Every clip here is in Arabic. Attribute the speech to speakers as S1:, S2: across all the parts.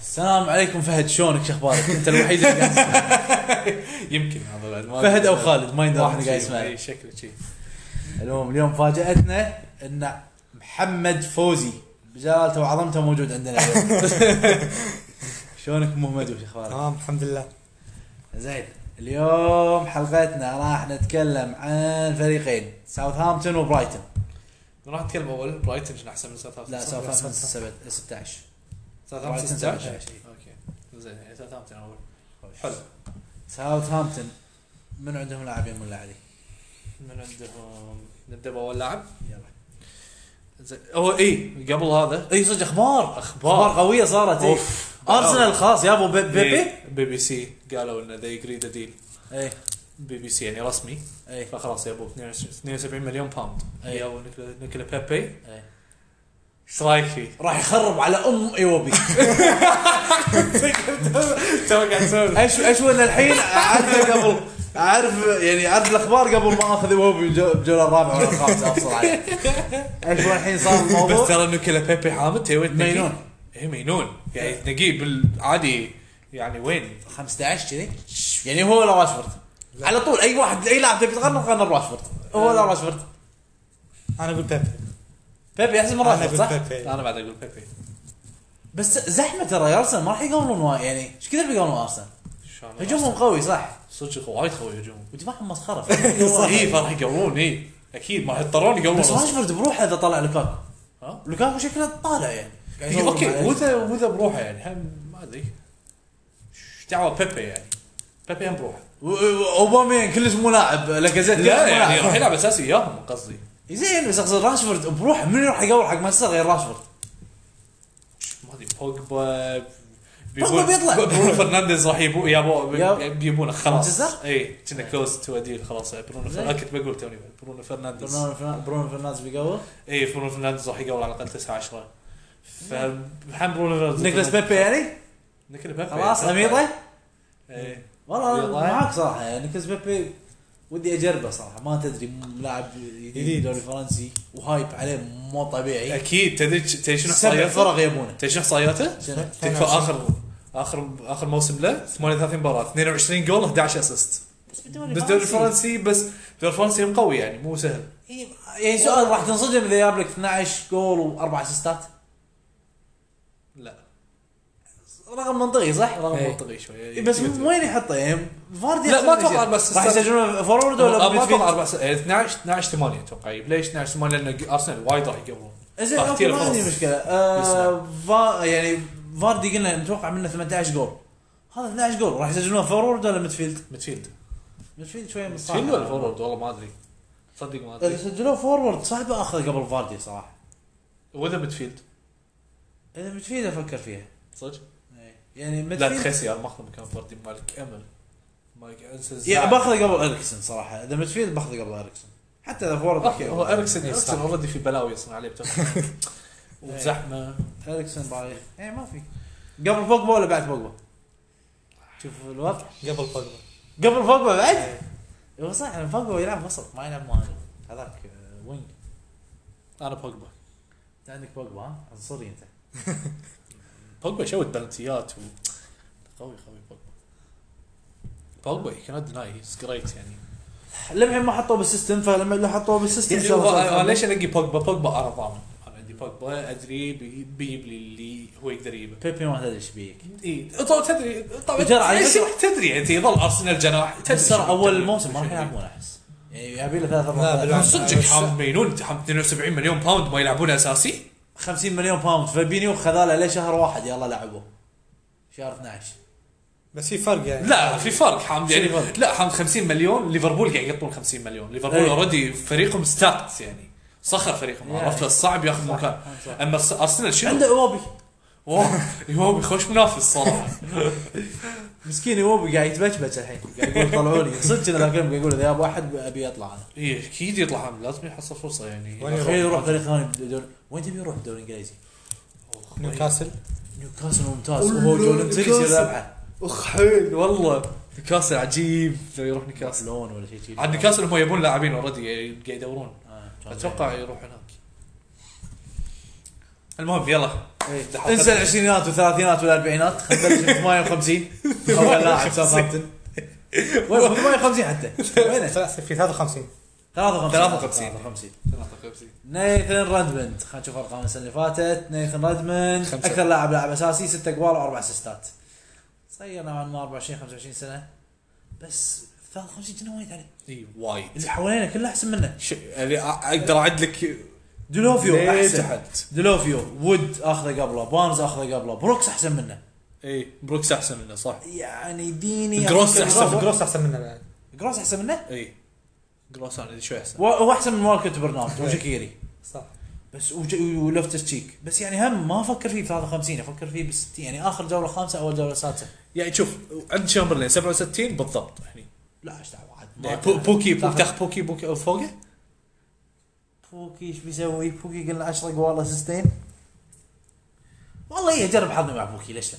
S1: السلام عليكم فهد شلونك شو اخبارك؟ انت الوحيد اللي قاعد يسمع.
S2: يمكن هذا بعد ما
S1: فهد او خالد ما يندرى
S2: واحد
S1: احنا
S2: شي-
S1: قاعد يسمع
S2: اي شكله شي
S1: المهم اليوم فاجاتنا ان محمد فوزي بجلالته وعظمته موجود عندنا اليوم شلونك مو مدوش اخبارك؟
S3: تمام الحمد لله
S1: زين اليوم حلقتنا راح نتكلم عن فريقين ساوثهامبتون وبرايتون
S2: راح نتكلم اول برايتون شنو احسن من ساوثهامبتون
S1: لا ساوثهامبتون سبعة- 16
S2: ساوثهامبتون
S1: برايتون
S2: 16
S1: 17.
S2: اوكي زين يعني ساوثهامبتون اول حلو
S1: ساوثهامبتون من عندهم لاعبين ولا علي؟
S2: من عندهم نبدا باول لاعب
S1: يلا
S2: زين هو اي قبل هذا
S1: اي صدق اخبار
S2: أخبار.
S1: اخبار قويه صارت إي.
S2: اوف
S1: ارسنال خلاص يابو بي- بيبي
S2: إيه، بي بي سي قالوا انه ذا يجري ذا ديل
S1: اي
S2: بي بي سي يعني رسمي
S1: اي
S2: فخلاص يبوا 72 مليون باوند
S1: أي.
S2: يبوا نيكولا نيكولا بيبي
S1: اي
S2: ايش رايك فيه؟
S1: إيه. راح يخرب على ام ايوبي
S2: تو قاعد تسوي
S1: ايش ايش ولا الحين اعرفه قبل اعرف يعني اعرف الاخبار قبل ما اخذ ايوبي بجو- بالجوله الرابعه ولا الخامسه افصل عليه ايش ولا الحين صار
S2: بس
S1: الموضوع
S2: ترى نيكولا بيبي حامد تيوي
S1: مجنون.
S2: اي مجنون يعني تنقيه بالعادي يعني وين
S1: 15 كذي يعني هو ولا راشفورد على طول اي واحد اي لاعب تبي تغنى غنى براشفورد هو ولا راشفورد
S3: انا اقول بيبي
S1: بيبي احسن من
S3: انا
S1: راشفورد صح؟
S3: اقول بيبي
S2: انا بعد اقول بيبي
S1: بس زحمه ترى يا ارسنال ما راح يقابلون وا- يعني ايش كثر بيقابلون ارسنال؟
S2: شلون
S1: هجومهم قوي صح
S2: صدق وايد قوي هجوم
S1: ودفاعهم مسخره
S2: اي فراح يقوون اي اكيد ما يضطرون يقوون
S1: بس
S2: أصلاً.
S1: راشفورد بروحه اذا طلع لوكاكو
S2: ها؟ إيه،
S1: لوكاكو شكله طالع يعني قاعد
S2: إي،
S1: يدور
S2: اوكي
S1: مع-
S2: وذا وذا بروحه يعني هم ما ادري ايش دعوه بيبي يعني بيبي هم بروحه
S1: و- و- اوباميان كلش مو لاعب لاكازيت كلش مو
S2: لا يعني
S1: لاعب.
S2: راح يلعب اساسي وياهم قصدي
S1: زين بس اقصد راشفورد بروحه من راح يقول حق مانشستر غير راشفورد
S2: ما ادري بوجبا
S1: بوجبا بيطلع.
S2: برونو فرنانديز راح يبو يابو
S1: يا-
S2: بيجيبونه خلاص
S1: مانشستر؟
S2: اي كنا كلوز تو ديل خلاص برونو
S1: زين.
S2: فر- انا كنت بقول توني برونو فرنانديز
S1: برونو فرنا- برونو فرنانديز بيقول
S2: اي برونو فرنانديز راح يقول على الاقل 9 10 فحم برونو فرنانديز
S1: نيكلاس بيبي يعني
S2: نيكلاس إيه. بيبي
S1: خلاص إيه. اميره
S2: اي
S1: والله
S2: يلا.
S1: أنا معاك صراحه يعني نيكلاس بيبي ودي اجربه صراحه ما تدري م- لاعب جديد
S3: جديد.
S1: دوري فرنسي وهايب عليه مو طبيعي
S2: اكيد تدري تدري شنو
S1: سبع
S2: احصائياته؟
S1: فرق يبونه
S2: تدري شنو احصائياته؟
S1: شنو؟
S2: تكفى اخر اخر اخر موسم له 38 مباراه 22 جول 11 اسيست
S1: بس
S2: بس الدوري الفرنسي بس الدوري الفرنسي هم قوي يعني مو سهل
S1: إيه، يعني سؤال راح تنصدم اذا جاب لك 12 جول واربع اسيستات
S2: لا
S1: رقم منطقي صح؟ رقم
S2: إيه.
S1: منطقي
S2: منطقي شوي
S1: إيه، بس وين يحطه يعني فاردي
S2: لا،
S1: أحسن
S2: ما
S1: من
S2: أتوقع
S1: زيادة.
S2: أربع أسيستات.
S1: راح يسجلون فورورد ولا
S2: ابي اتوقع
S1: ميدفيلد؟
S2: اربع س- 12 12 8 اتوقع يجيب. إيه، ليش 12 8 لان ارسنال وايد راح يقبلون
S1: زين
S2: راح
S1: اوكي
S2: كتير
S1: إيه، ما عندي
S2: فرص.
S1: مشكله آه فا يعني فاردي قلنا نتوقع منه 18 جول هذا 12 جول راح يسجلون فورورد ولا ميدفيلد؟
S2: ميدفيلد
S1: ميدفيلد شويه من
S2: ميدفيلد ولا فورورد والله ما ادري صدق ما
S1: اذا
S2: ادري
S1: سجلوه فورورد صعبه اخذه قبل فاردي صراحه
S2: وذا ميدفيلد
S1: اذا ميدفيلد افكر فيها
S2: صدق
S1: إيه. يعني
S2: لا
S1: ميدفيلد
S2: تخسي انا ماخذ مكان فردي مالك امل مالك انسز
S1: يا باخذه قبل اريكسن صراحه اذا ميدفيلد باخذه قبل اريكسن حتى اذا فورورد
S2: اوكي هو
S1: أوكي.
S2: اريكسن اريكسن اوريدي في بلاوي يصنع عليه
S1: إيه.
S2: بتوقع وزحمه
S1: اريكسن باي يعني ما في قبل بوجبا ولا بعد بوجبا؟ شوف الوضع إيه،
S3: قبل بوجبا
S1: قبل بوجبا بعد؟ هو صح إن بوجبا يلعب وسط ما يلعب مهاجم هذاك آه، وينج
S2: انا بوجبا
S1: انت عندك بوجبا ها؟ عنصري انت
S2: بوجبا شوت بلنتيات و... قوي قوي بوجبا بوجبا يو كانت ديناي هيز جريت يعني
S1: للحين ما حطوه بالسيستم فلما اللي حطوه بالسيستم
S2: يعني
S1: شاء الله
S2: هو-
S1: صار
S2: أنا ليش انقي بوجبا بوجبا انا ضامن انا عندي بوجبا ادري بي- بيجيب لي اللي هو يقدر يجيبه
S1: بيبي ما تدري ايش بيك
S2: اي طبعا تدري طبعا
S1: ترى على
S2: ايش
S1: فكرة-
S2: راح تدري انت يظل ارسنال جناح تدري
S1: بس ترى
S2: شو
S1: اول
S2: بتدري.
S1: الموسم ما راح
S2: شو
S1: يلعبون احس يعني يبي له ثلاث
S3: لا،
S1: اربع
S3: بالعكس.
S2: صدق
S3: بس-
S2: حام مجنون حام 72 مليون باوند ما يلعبون اساسي
S1: 50 مليون باوند فابينيو خذاله ليه شهر واحد يلا لعبوه شهر 12
S3: بس في فرق يعني
S2: لا في فرق حام
S1: شو
S2: يعني
S1: الفرق؟
S2: لا حام 50 مليون ليفربول قاعد يقطون 50 مليون ليفربول
S1: إيه.
S2: اوريدي فريقهم ستاكت يعني صخر فريقهم
S1: يعني.
S2: عرفت صعب ياخذ
S1: صح،
S2: مكان
S1: صح.
S2: اما الس- ارسنال شنو؟
S1: عنده اوبي
S2: اوه يوم خوش منافس صراحه
S1: مسكين يوبي قاعد يتبشبش الحين قاعد يقول طلعوني صدق انا ذاك اليوم قاعد يقول اذا ياب واحد ابي اطلع انا
S2: اي اكيد يطلع عامل لازم يحصل فرصه يعني
S3: وين
S1: تخيل يروح فريق ثاني بدون وين تبي يروح الدوري الانجليزي؟
S3: نيوكاسل
S1: نيوكاسل ممتاز وهو جولن تيريس يلعبه
S2: اخ حيل والله نيكاسل عجيب لو يروح نيكاسل
S1: لون ولا شيء آه، شيء
S2: عاد نيكاسل هم يبون لاعبين اوريدي قاعد يدورون
S1: آه،
S2: اتوقع يروح هناك
S4: المهم يلا
S1: إيه.
S2: إيه،
S1: انسى العشرينات والثلاثينات والاربعينات خلينا نبلش ب 58 اول لاعب ساوثهامبتون وين ب 58 حتى وينه؟
S3: ثلاث- في 53
S4: 53.
S1: 53 53
S4: 53
S1: نيثن رادمند خلينا نشوف ارقام السنه اللي فاتت نيثن رادمند
S2: خمسة.
S1: اكثر لاعب لاعب اساسي ست اجوال واربع اسيستات صغير نوعا ما 24 25 سنه بس 53 كنا وايد عليه
S2: اي وايد
S1: اللي حوالينا كله احسن منه
S4: ش- يعني أ- اقدر اعد لك
S1: دلوفيو
S4: ليه
S1: احسن
S4: تحت
S1: دلوفيو وود اخذه قبله بارنز اخذه قبله بروكس احسن منه
S2: اي إيه، بروكس احسن منه صح
S1: يعني ديني
S2: جروس
S1: أحسن-
S2: أحسن.
S3: جروس احسن منه بعد
S1: جروس احسن منه
S2: اي جروس انا إيه. شوي احسن
S1: و- هو احسن من ماركت برنارد وشكيري
S3: صح
S1: بس وج- ولفتس تشيك بس يعني هم ما افكر فيه ب 53 افكر فيه ب 60 يعني اخر جوله خامسه اول جوله سادسه
S2: يعني شوف عند شامبرلين 67 بالضبط يعني
S1: لا ايش دعوه عاد ما
S2: يعني بو- بوكي بوكي
S1: تاخذ-
S2: تاخذ بوكي بوكي فوقه
S1: بوكي ايش بيسوي؟ بوكي قلنا 10 جوال اسيستين والله ايه جرب حظي مع بوكي ليش لا؟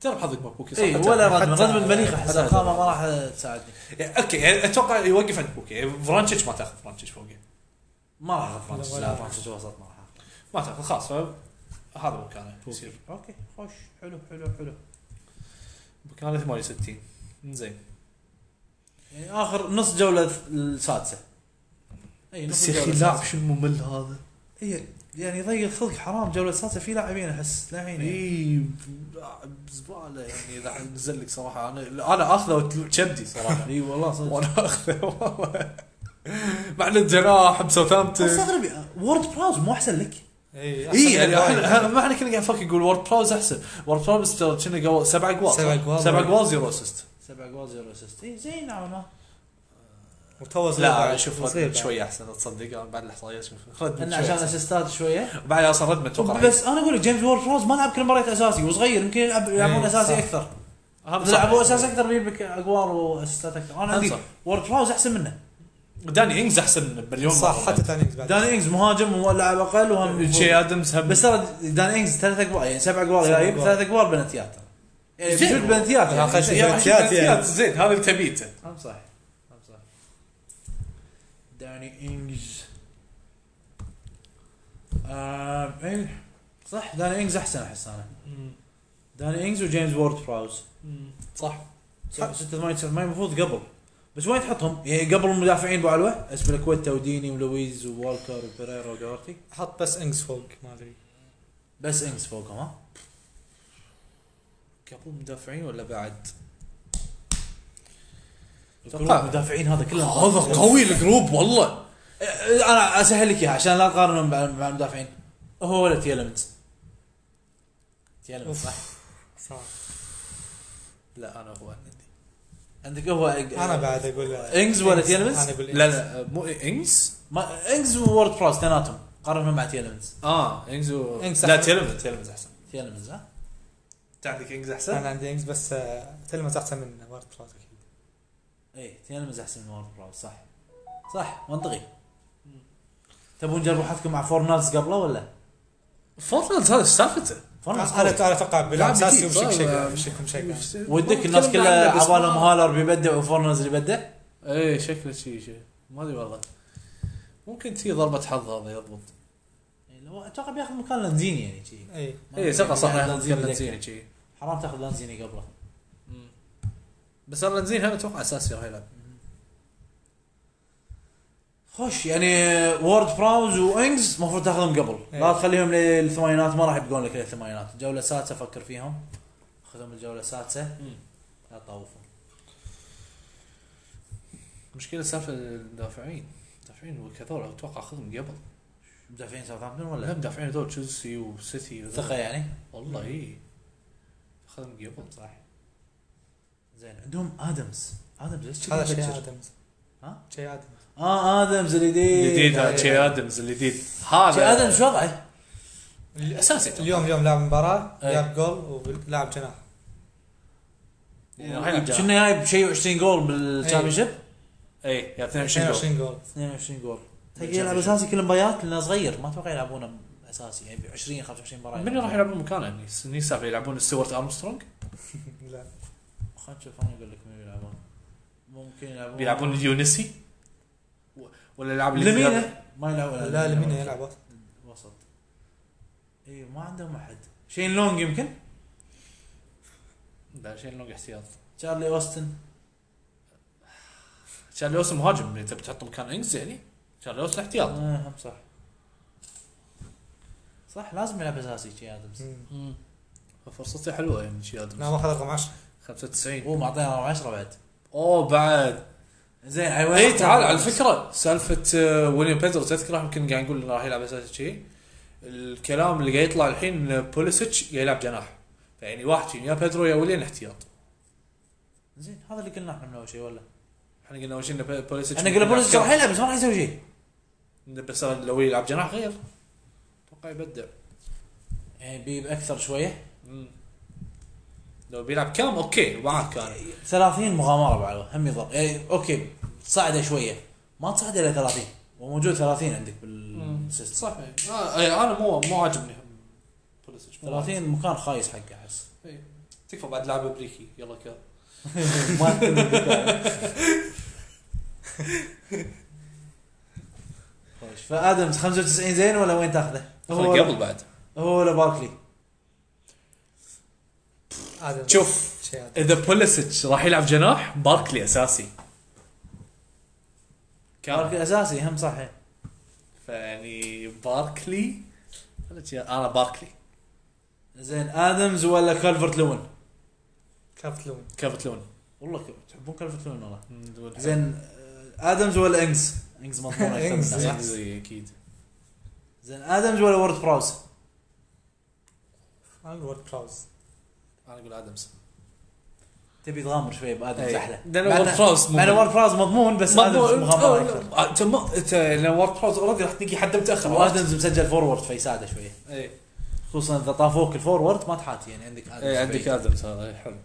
S2: ترى حظك مع بوكي صح
S1: اي
S2: حتى-
S1: إيه، ولا ردمن
S2: حتى-
S1: ردمن مليخه احس
S2: حتى-
S1: ارقامه ما راح تساعدني
S2: يعني اوكي يعني اتوقع يوقف عند بوكي يعني فرانشيتش ما تاخذ فرانشيتش فوقه
S1: ما راح اخذ فرانسيس
S3: ولا
S1: لا
S3: راح.
S1: فرانسيس وسط ما راح أخذ.
S2: ما تاخذ خلاص ف- هذا مكانه يصير
S1: اوكي خوش حلو حلو حلو
S2: مكانه 68 زين
S1: يعني اخر نص جوله السادسه
S2: إيه،
S1: اي إيه، نص الجولة السادسة.
S2: شو الممل هذا
S1: إيه، يعني يضيق خلق حرام جوله السادسه في لاعبين احس
S2: إيه.
S1: لاعبين يعني.
S2: اي لاعب زباله يعني اذا نزل لك صراحه انا انا اخذه وتلوع كبدي صراحه
S1: اي إيه، والله صدق
S2: وانا اخذه والله. مع انه جناح بساوثهامبتون
S1: استغرب وورد براوز مو احسن لك
S3: اي
S2: اي يعني احنا ما احنا كنا قاعد نفكر نقول وورد براوز احسن وورد براوز ترى كنا قبل سبع اقوال
S3: سبع أجوال.
S2: سبع اقوال زيرو اسيست
S1: سبع جوال زيرو اسيست اي إيه، زين نوعا ما
S3: وتو صغير
S2: لا
S3: بعد.
S2: شوف
S3: صغير
S2: ردمت
S3: بعد.
S2: شوي احسن تصدق أنا بعد الاحصائيات شوف ردمت
S1: لان
S2: شوي
S1: عشان
S2: أحسن.
S1: اسيستات شويه
S2: بعد اصلا ردمت اتوقع
S1: بس انا اقول لك جيمس وورد روز ما لعب كل مباريات اساسي وصغير يمكن يلعب يلعبون
S3: إيه،
S1: اساسي
S3: صح.
S1: اكثر
S2: أهم
S1: اذا
S2: صح.
S1: لعبوا اساسي اكثر بيجيب لك اقوال واسيستات اكثر انا عندي
S2: صح.
S1: وورد روز احسن منه
S2: داني انجز احسن منه بمليون مرة.
S3: صح حتى ثاني بعد
S1: دان انجز مهاجم ولاعب اقل وهم
S2: شي ادمز هم
S1: إيه. بس ترى دان انجز ثلاث اقوال يعني سبع اقوال
S3: سبع
S1: جايب
S3: أجوال.
S1: ثلاث اقوال بنتيات يعني
S2: زين.
S1: بجود بنتيات
S3: على الأقل
S1: يعني
S3: شيء.
S2: يا أخي،
S3: بنتيات يعني.
S2: بنتيات زين هذا اللي تبيته
S1: هم صح هم صح داني انجز آه، إيه. صح داني انجز احسن احس انا داني انجز وجيمس وورد براوز
S2: صح
S1: 86 89 المفروض قبل بس وين تحطهم؟ يعني قبل المدافعين ابو علوه اسم الكويت وديني ولويز ووالكر وبيريرا ودورتي
S3: حط بس انجز فوق ما ادري
S1: بس انجز فوقهم ها؟
S2: قبل مدافعين ولا بعد؟ طيب.
S1: الجروب المدافعين هذا كله
S2: هذا قوي الجروب والله
S1: انا اسهل لك اياها عشان لا تقارنهم مع مع المدافعين هو ولا تيلمنز تيلمنز صح؟
S3: صح
S2: لا انا هو عندي
S1: عندك هو
S3: انا بعد اقول
S1: إنجز ولا تيلمز؟
S3: انا اقول
S2: لا
S3: لا
S2: لا مو انجز
S1: ما انجز وورد براوز اثنيناتهم قارنهم مع تيلمنز
S2: اه انجز و...
S3: إنجز
S2: لا
S3: أحسن.
S2: تيلمز تيلمز احسن
S1: تيلمز ها؟
S2: انت عندك انجز احسن؟
S3: انا عندي انجز بس آه، تلمس احسن من وارد براوز اكيد
S1: ايه تيلمز احسن من وورد براوز صح صح منطقي تبون جربوا حظكم مع فورنالز قبله ولا؟
S2: فورتنايت هذا ايش سالفته؟
S1: فورنالز
S3: انا انا اتوقع بيلعب
S2: لاعب
S3: اساسي
S2: جديد،
S3: وشك
S2: صح؟
S3: شك شكم شك
S1: ودك الناس كلها عبالهم هالر بيبدع وفورنز اللي بدع
S2: ايه شكله شي شي ما ادري والله ممكن تي ضربه حظ هذا يضبط
S1: يعني هو اتوقع بياخذ مكان لانزيني يعني شي
S3: اي
S1: ما
S2: ايه ثقه صح
S1: يعني
S2: لانزين
S1: لانزيني
S2: لانزين شي
S1: دك. حرام تاخذ لانزيني قبله
S2: بس انا لانزين هم اتوقع اساسي راح يلعب
S1: خوش يعني وورد براوز وانجز المفروض تاخذهم قبل
S3: إيه.
S1: لا تخليهم للثمانينات ما راح يبقون لك للثمانينات الجوله السادسه فكر فيهم خذهم الجوله السادسه لا تطوفهم
S2: مشكله سالفه المدافعين المدافعين وكذول اتوقع اخذهم قبل
S1: مدافعين ساوثهامبتون
S2: لا
S1: ولا
S2: مدافعين هذول تشيلسي وسيتي وذول.
S1: ثقه يعني
S2: والله اي اخذهم قبل صح
S1: زين عندهم ادمز ادمز ليش
S3: هذا شيء
S1: كذا
S3: ادمز
S1: ها؟
S3: شيء ادمز
S1: اه ادمز الجديد
S2: الجديد
S1: هذا
S2: هذا تشي ادمز الجديد هذا
S1: شي ادمز شو وضعه؟
S2: اساسي طبعاً.
S3: اليوم يوم لعب مباراه
S1: إيه.
S3: جاب جول ولاعب جناح
S2: يعني راح إيه. يلعب جناح.
S1: كنا جايب شيء 20 جول بالشامبيونشيب
S2: اي إيه،
S1: نعم،
S2: يا 22 جول
S3: 22 جول
S1: 22 جول
S2: بالشامبيونشيب.
S1: يلعب اساسي كل المباريات لانه صغير ما اتوقع يلعبونه اساسي يعني ب 20 25 مباراه
S2: من راح يلعبون مكانه يعني هني السالفه يلعبون ستيوارت ارمسترونج
S3: لا
S1: خلنا نشوف انا اقول لك مين يلعبون ممكن يلعبون
S2: بيلعبون اليونسي و- ولا يلعب
S1: لمينا ما يلعبون
S3: لا لمين يلعب
S1: وسط اي إيه، ما عندهم احد شين لونج يمكن
S2: لا شيء لونج احتياط
S1: تشارلي اوستن
S2: شارلي اوسن مهاجم انت بتحطه مكان انجز يعني شارلي اوسن احتياط
S1: آه هم صح صح لازم يلعب اساسي شي ادمز
S2: مم. فرصته حلوه يعني شي
S3: لا
S2: ادمز
S3: ما اخذ رقم 10
S2: 95
S1: هو معطينا رقم 10 بعد
S2: اوه بعد
S1: زين على وين
S2: اي إيه، تعال على فكره سالفه آه، ويليام بيترو تذكره يمكن قاعد نقول انه راح يلعب اساسي شيء الكلام اللي قاعد يطلع الحين إن بوليسيتش قاعد يلعب جناح يعني واحد شي، يا بيترو يا ويليام احتياط
S1: زين هذا اللي قلناه احنا من اول شيء ولا
S2: احنا قلنا اول شيء ان بوليسيتش
S1: احنا قلنا بولز راح يلعب بس ما راح يسوي شيء
S2: بس لو يلعب جناح غير اتوقع يبدع
S1: يعني بيب اكثر شويه
S2: مم. لو بيلعب كام اوكي معك كان
S1: 30 مغامره بعد هم يضر يعني اوكي صعده شويه ما تصعد الى 30 وموجود 30 عندك بالسيستم
S2: صح إي. آه، إي، انا مو مو عاجبني بوليسيتش مو عاجبني.
S1: 30 مكان خايس حقه احس
S2: إي. تكفى بعد لاعب امريكي يلا كان
S1: ما أتكلم. خوش فادمز 95 زين ولا وين تاخذه؟ هو ولا-
S2: قبل بعد
S1: هو ولا باركلي؟
S3: ادم
S2: شوف
S3: شيء ادم
S2: اذا بوليسيتش راح يلعب جناح باركلي اساسي كان
S1: باركلي اساسي هم صح
S2: فيعني باركلي أنا جي- انا باركلي
S1: زين ادمز ولا كالفرت لون؟
S3: كارت لون
S2: كيفت لون
S1: والله ك- تحبون كالفرت لون والله
S2: زين
S1: زين آه، ادمز ولا انجز؟ انجز مضمون اكثر من
S3: إنجز.
S1: أساسي.
S2: زي اكيد
S1: زين ادمز ولا وورد براوس؟
S3: انا الورد كراوز
S2: انا اقول ادمز
S1: تبي تغامر شوي بادمز
S2: إي.
S1: احلى
S2: لأن
S1: مع
S2: وورد
S1: إنه-
S2: براوس
S1: مع انه
S2: مضمون.
S1: وورد براوس مضمون بس ادمز مغامره اكثر
S2: انت ما انت لو وورد براوز اوريدي راح تنقي إيه، حد متاخر عرفت؟
S1: وادمز مسجل فورورد فيساعده شويه
S2: اي
S1: خصوصا اذا طافوك الفورورد ما تحاتي يعني عندك ادمز
S2: اي إيه، عندك
S1: شوي.
S2: ادمز هذا إي، حلو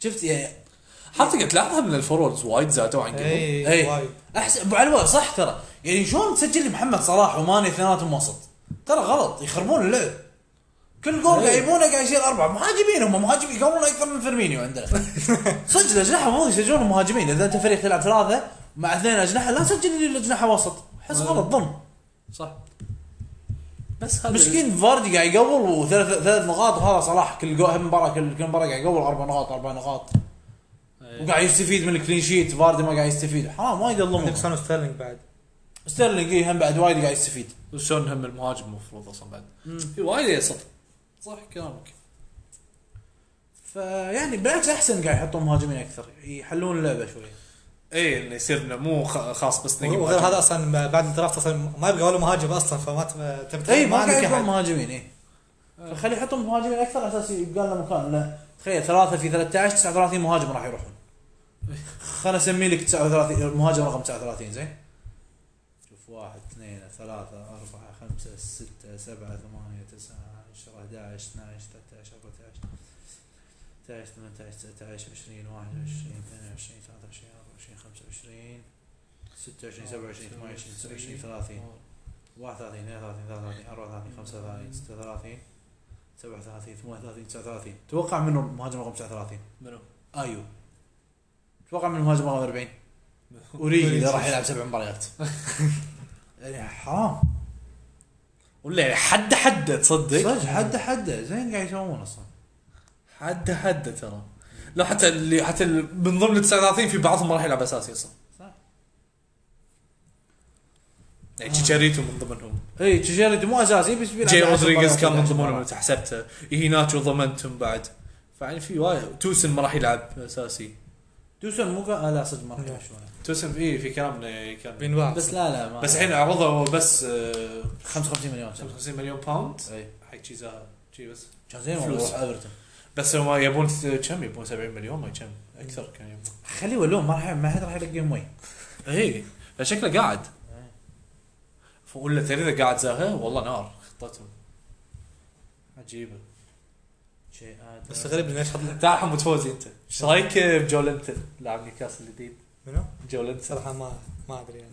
S1: شفت يعني
S2: حتى قلت لحظه من الفوروردز وايد زادوا عن قبل
S1: إي.
S3: اي وايد
S1: احسن ابو علواء صح ترى يعني شلون تسجل لي محمد صلاح وماني اثنيناتهم وسط ترى غلط يخربون اللعب كل جول
S2: إي.
S1: يجيبونه قاعد يصير اربعه مهاجمين هم مهاجمين يقولون اكثر من فيرمينيو عندنا صدق الاجنحه المفروض يسجلون مهاجمين اذا انت فريق تلعب ثلاثه مع اثنين اجنحه لا تسجل لي الاجنحه وسط احس غلط ظلم
S2: صح بس هذا
S1: مسكين فاردي قاعد يقول وثلاث ثلاث نقاط وهذا صلاح كل جو- هم مباراه كل كل مباراه قاعد يقول اربع نقاط اربع نقاط
S2: إي.
S1: وقاعد يستفيد من الكلين شيت فاردي ما قاعد يستفيد حرام وايد يظلمون
S3: عندك سون ستيرلينج بعد
S1: ستيرلينج إيه، هم بعد وايد قاعد يستفيد
S2: وشون هم المهاجم المفروض اصلا بعد في وايد يسط صح كلامك
S1: فيعني بالعكس احسن قاعد يحطون مهاجمين اكثر يحلون اللعبه شوي
S2: اي انه إيه، يصير انه مو خ- خاص بس نقي
S3: وغير
S2: مهاجم.
S3: هذا اصلا بعد الدرافت اصلا ما يبقى ولا مهاجم اصلا فما تب- تبتعد
S1: اي إيه، ما قاعد
S3: عندك
S1: يحطون
S3: أحد.
S1: مهاجمين اي فخلي يحطون مهاجمين اكثر على اساس يبقى لنا مكان لا تخيل ثلاثه في 13 39 مهاجم راح يروحون خلنا اسمي لك 39 مهاجم رقم 39 زين شوف واحد اثنين ثلاثة أربعة خمسة ستة سبعة ثمانية تسعة عشرة 11 12 13 14 16 18 19 20 21 22 23 24 25 26 27 28 29 30 31 32 33 34 35 36 37 38 39 توقع منه المهاجم رقم 39
S2: منو؟
S1: ايو توقع منه المهاجم رقم 40 اوريجي اللي راح يلعب سبع مباريات يعني حرام
S2: ولا يعني حد حد تصدق
S1: صدق حده حده زين قاعد يسوون اصلا
S2: حد حد ترى لا حتى اللي حتى اللي من ضمن ال 39 في بعضهم ما راح يلعب اساسي اصلا
S1: صح.
S2: يعني تشاريتو من ضمنهم
S1: اي تشيرد يعني مو اساسي بس بيلعب
S2: جاي
S1: عشر
S2: رودريغيز
S1: مباريات
S2: كان من
S1: عشر
S2: ضمنهم
S1: مباريات.
S2: انت حسبته هي ناتشو ضمنتهم بعد فيعني في وايد توسن ما راح يلعب اساسي
S1: دوسون مو كان آه، لا صدق ما راح
S3: لا.
S1: يمشونه.
S2: توسن في في كلام إنه كان
S3: بين واحد
S1: بس لا لا ما
S2: بس الحين عرضوا بس آه،
S1: 55 مليون
S2: 55 مليون باوند
S1: اي
S2: حق شي زا- شي بس
S1: كان زين والله
S2: فلوس.
S1: يروح ايفرتون
S2: بس هم يبون ث- كم يبون 70 مليون ما كم اكثر كان يبون
S1: خليه ولون ما راح ما حد راح يلقى مي
S2: اي فشكله قاعد ولا تدري اذا قاعد زاها والله نار خطتهم عجيبه
S3: بس الغريب انه ليش حط
S2: تعال حمود فوزي انت ايش رايك بجو لينتون لاعب نيوكاسل الجديد
S3: منو؟
S2: جو لينتون
S3: صراحه ما ما ادري يعني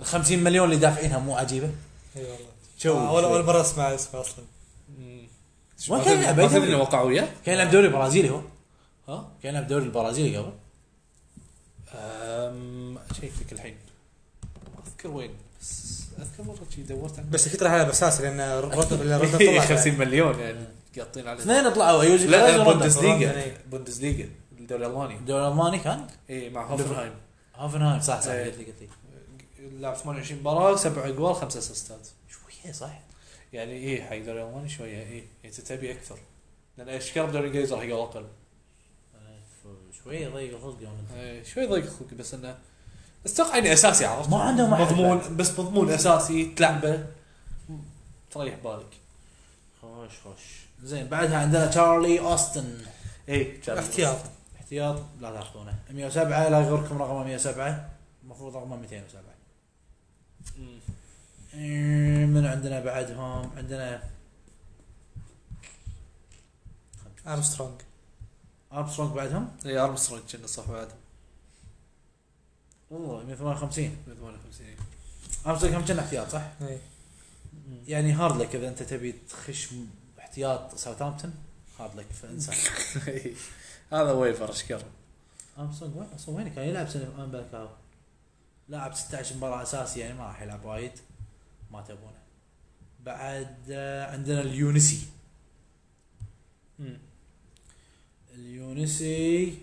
S1: ال 50 مليون اللي دافعينها مو عجيبه
S3: اي والله
S1: شو
S3: آه، اول اول مره اسمع اسمه اصلا
S2: مم.
S1: وين كان يلعب؟
S2: ما تدري انه وقعوا وياه؟
S1: كان يلعب دوري برازيلي هو
S2: ها؟
S1: كان يلعب دوري البرازيلي قبل
S2: أم، شيك لك الحين ما اذكر وين بس اذكر مره شي دورت عنه.
S3: بس اكيد راح يلعب اساسي لان رد رد
S2: إيه،
S3: طلع
S2: 50 مليون يعني قاطين عليه
S1: اثنين طلعوا يوجي
S2: لا
S1: كريز وروندا.
S3: روندا،
S2: بوندسليغا
S3: إيه.
S2: بوندسليغا الدوري الالماني
S1: الدوري الالماني كان
S2: اي مع هوفنهايم
S1: هوفنهايم صح صح
S2: إيه.
S1: قلت لي قلت لي
S2: لعب 28 مباراه سبع اجوال خمس اسيستات
S1: شويه صح
S2: يعني ايه حق الدوري الالماني شويه ايه انت تبي اكثر لان اشكال الدوري الانجليزي راح يقل اقل
S1: شويه ضيق الخلق يوم
S2: إيه، شوي ضيق خلقي بس انه بس اتوقع انه اساسي عرفت
S1: ما عندهم أحد
S2: مضمون بس مضمون اساسي تلعبه تريح بالك
S1: خوش خوش زين بعدها عندنا تشارلي اوستن
S2: اي
S3: احتياط
S1: احتياط لا تاخذونه 107 لا يغركم رقم 107 المفروض رقم 207 إيه، من عندنا بعدهم عندنا
S3: ارمسترونج
S1: ارمسترونج بعدهم
S2: اي ارمسترونج إيه، كنا صح بعد
S1: والله 158
S2: من 58 إيه.
S1: ارمسترونج هم كان احتياط صح؟
S3: إيه.
S1: يعني هارد لك اذا انت تبي تخش م- احتياط ساوثهامبتون هارد لك فانسى
S2: إيه. هذا ويفر اشكره
S1: ارمسترونج وين اصلا وين كان يلعب سنه وين بالكاو لاعب 16 مباراه اساسي يعني ما راح يلعب وايد ما تبونه بعد آه، عندنا اليونسي اليونسي